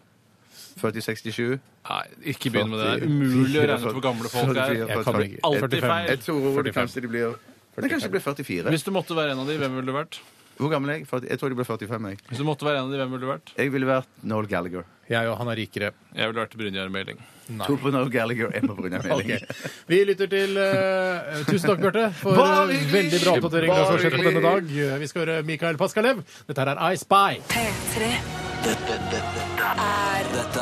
4067 Nei, ikke begynn med det. Det er umulig å regne ut hvor gamle folk er. Jeg kan ikke. Alltid 45. Jeg feil. tror det kanskje de blir Det kanskje de blir 44. Hvis du måtte være en av de, hvem ville du vært? Hvor gammel er jeg? 40 Jeg tror de blir 45. Jeg Hvis du måtte være en av de, hvem ville du vært? Jeg ville vært Noel Gallagher. Jeg og han er rikere. Jeg ville vært Brynjar Meling. To på Noel Gallagher, én på Brynjar Ok. Meling. Vi lytter til eh, Tusen takk, Bjarte, for Bare eh, hyggelig! veldig bra oppdatering. av hva som har skjedd på Bare denne dag. Eh, Vi skal høre Mikael Paskalev. Dette her er I Spy. P3 Dette dette er Dette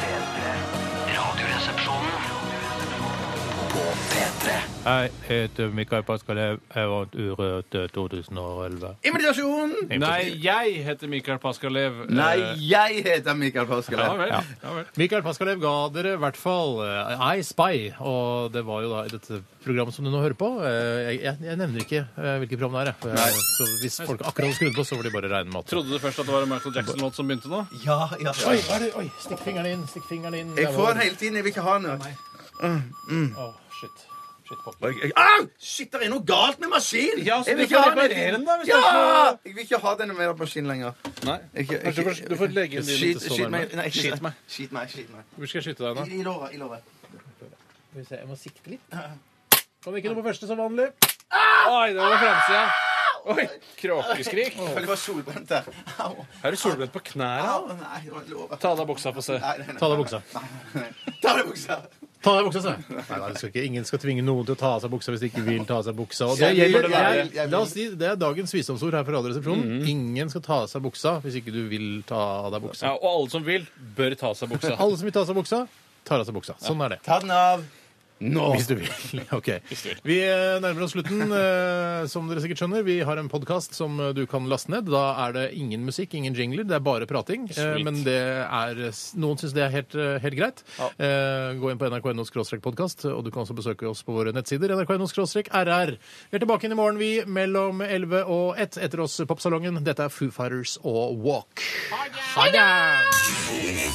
P3 Radioresepsjonen På P3 Jeg heter Mikael Paskalev. Jeg vant Urørt eh, 2011. Imitasjon! Nei, jeg heter Mikael Paskalev. Nei, Eh, jeg heter Mikael Paskelev. Ja vel. Ja vel. Mikael Paskalev ga dere i hvert fall eh, I Spy, og det var jo da i dette programmet som du nå hører på. Eh, Jeg, jeg, jeg nevner ikke eh, hvilket program det er, jeg. For jeg. Så hvis folk akkurat skrudde på, så får de bare regne med at Trodde du først at det var en Michael Jackson-låt som begynte nå? Ja, ja, ja. Oi, hva er det? Oi, stikk fingeren inn, stikk fingeren inn. Jeg Der får var den hele tiden. Jeg vil ikke ha den. Å, shit. Shit, fuck. Og jeg- jeg- Au! Shit, det er noe galt med maskinen! Ja, så jeg du får reparere mer. den da, hvis ja! det er Jeg vil ikke ha denne mer maskinen lenger. Nei. Ikke- ikke- Kanskje du får- du får legge den din Skyt- til så skyt nærme. meg. Nei, ikke- Skyt meg. Skyt meg. Skyt meg. Hvor skal jeg skyte deg, da? I låret. I låret. Skal vi se, Jeg må sikte litt. Kom ikke noe på første som vanlig. Oi, det var fremsida. Oi, Jeg kråkeskrik. føler jeg var solbrent der. Au. Er du solbrent på knærne? Au. Nei, det var låret. Ta av deg buksa, få se. Nei, nei, nei. Ta av deg buksa. Ta av deg buksa. Ta av deg buksa, sa jeg. Nei, nei, du skal ikke, ingen skal tvinge noen til å ta av seg buksa hvis de ikke vil ta av seg buksa. Og det, Jeg gjelder, vil det være. jeg, Jeg vil. Mm. la oss si, det er dagens visdomsord her fra Radioresepsjonen. Ingen skal ta av seg buksa hvis ikke du vil ta av deg buksa. Ja, og alle som vil, bør ta av seg buksa. Alle som vil ta av seg buksa, tar av seg buksa. Sånn er det. Ta den av. Nå. Hvis du vil. Ok. Vi eh, nærmer oss slutten, eh, som dere sikkert skjønner. Vi har en podkast som eh, du kan laste ned. Da er det ingen musikk, ingen jingler, det er bare prating. Eh, Sweet. Men det er Noen syns det er helt, eh, helt greit. Eh, Gå inn på nrk.no podkast, og du kan også besøke oss på våre nettsider. nrk.no rr. Vi er tilbake inn i morgen, vi, mellom 11 og 1. Etter oss Popsalongen. Dette er Foo Fighters og Walk. Ha det!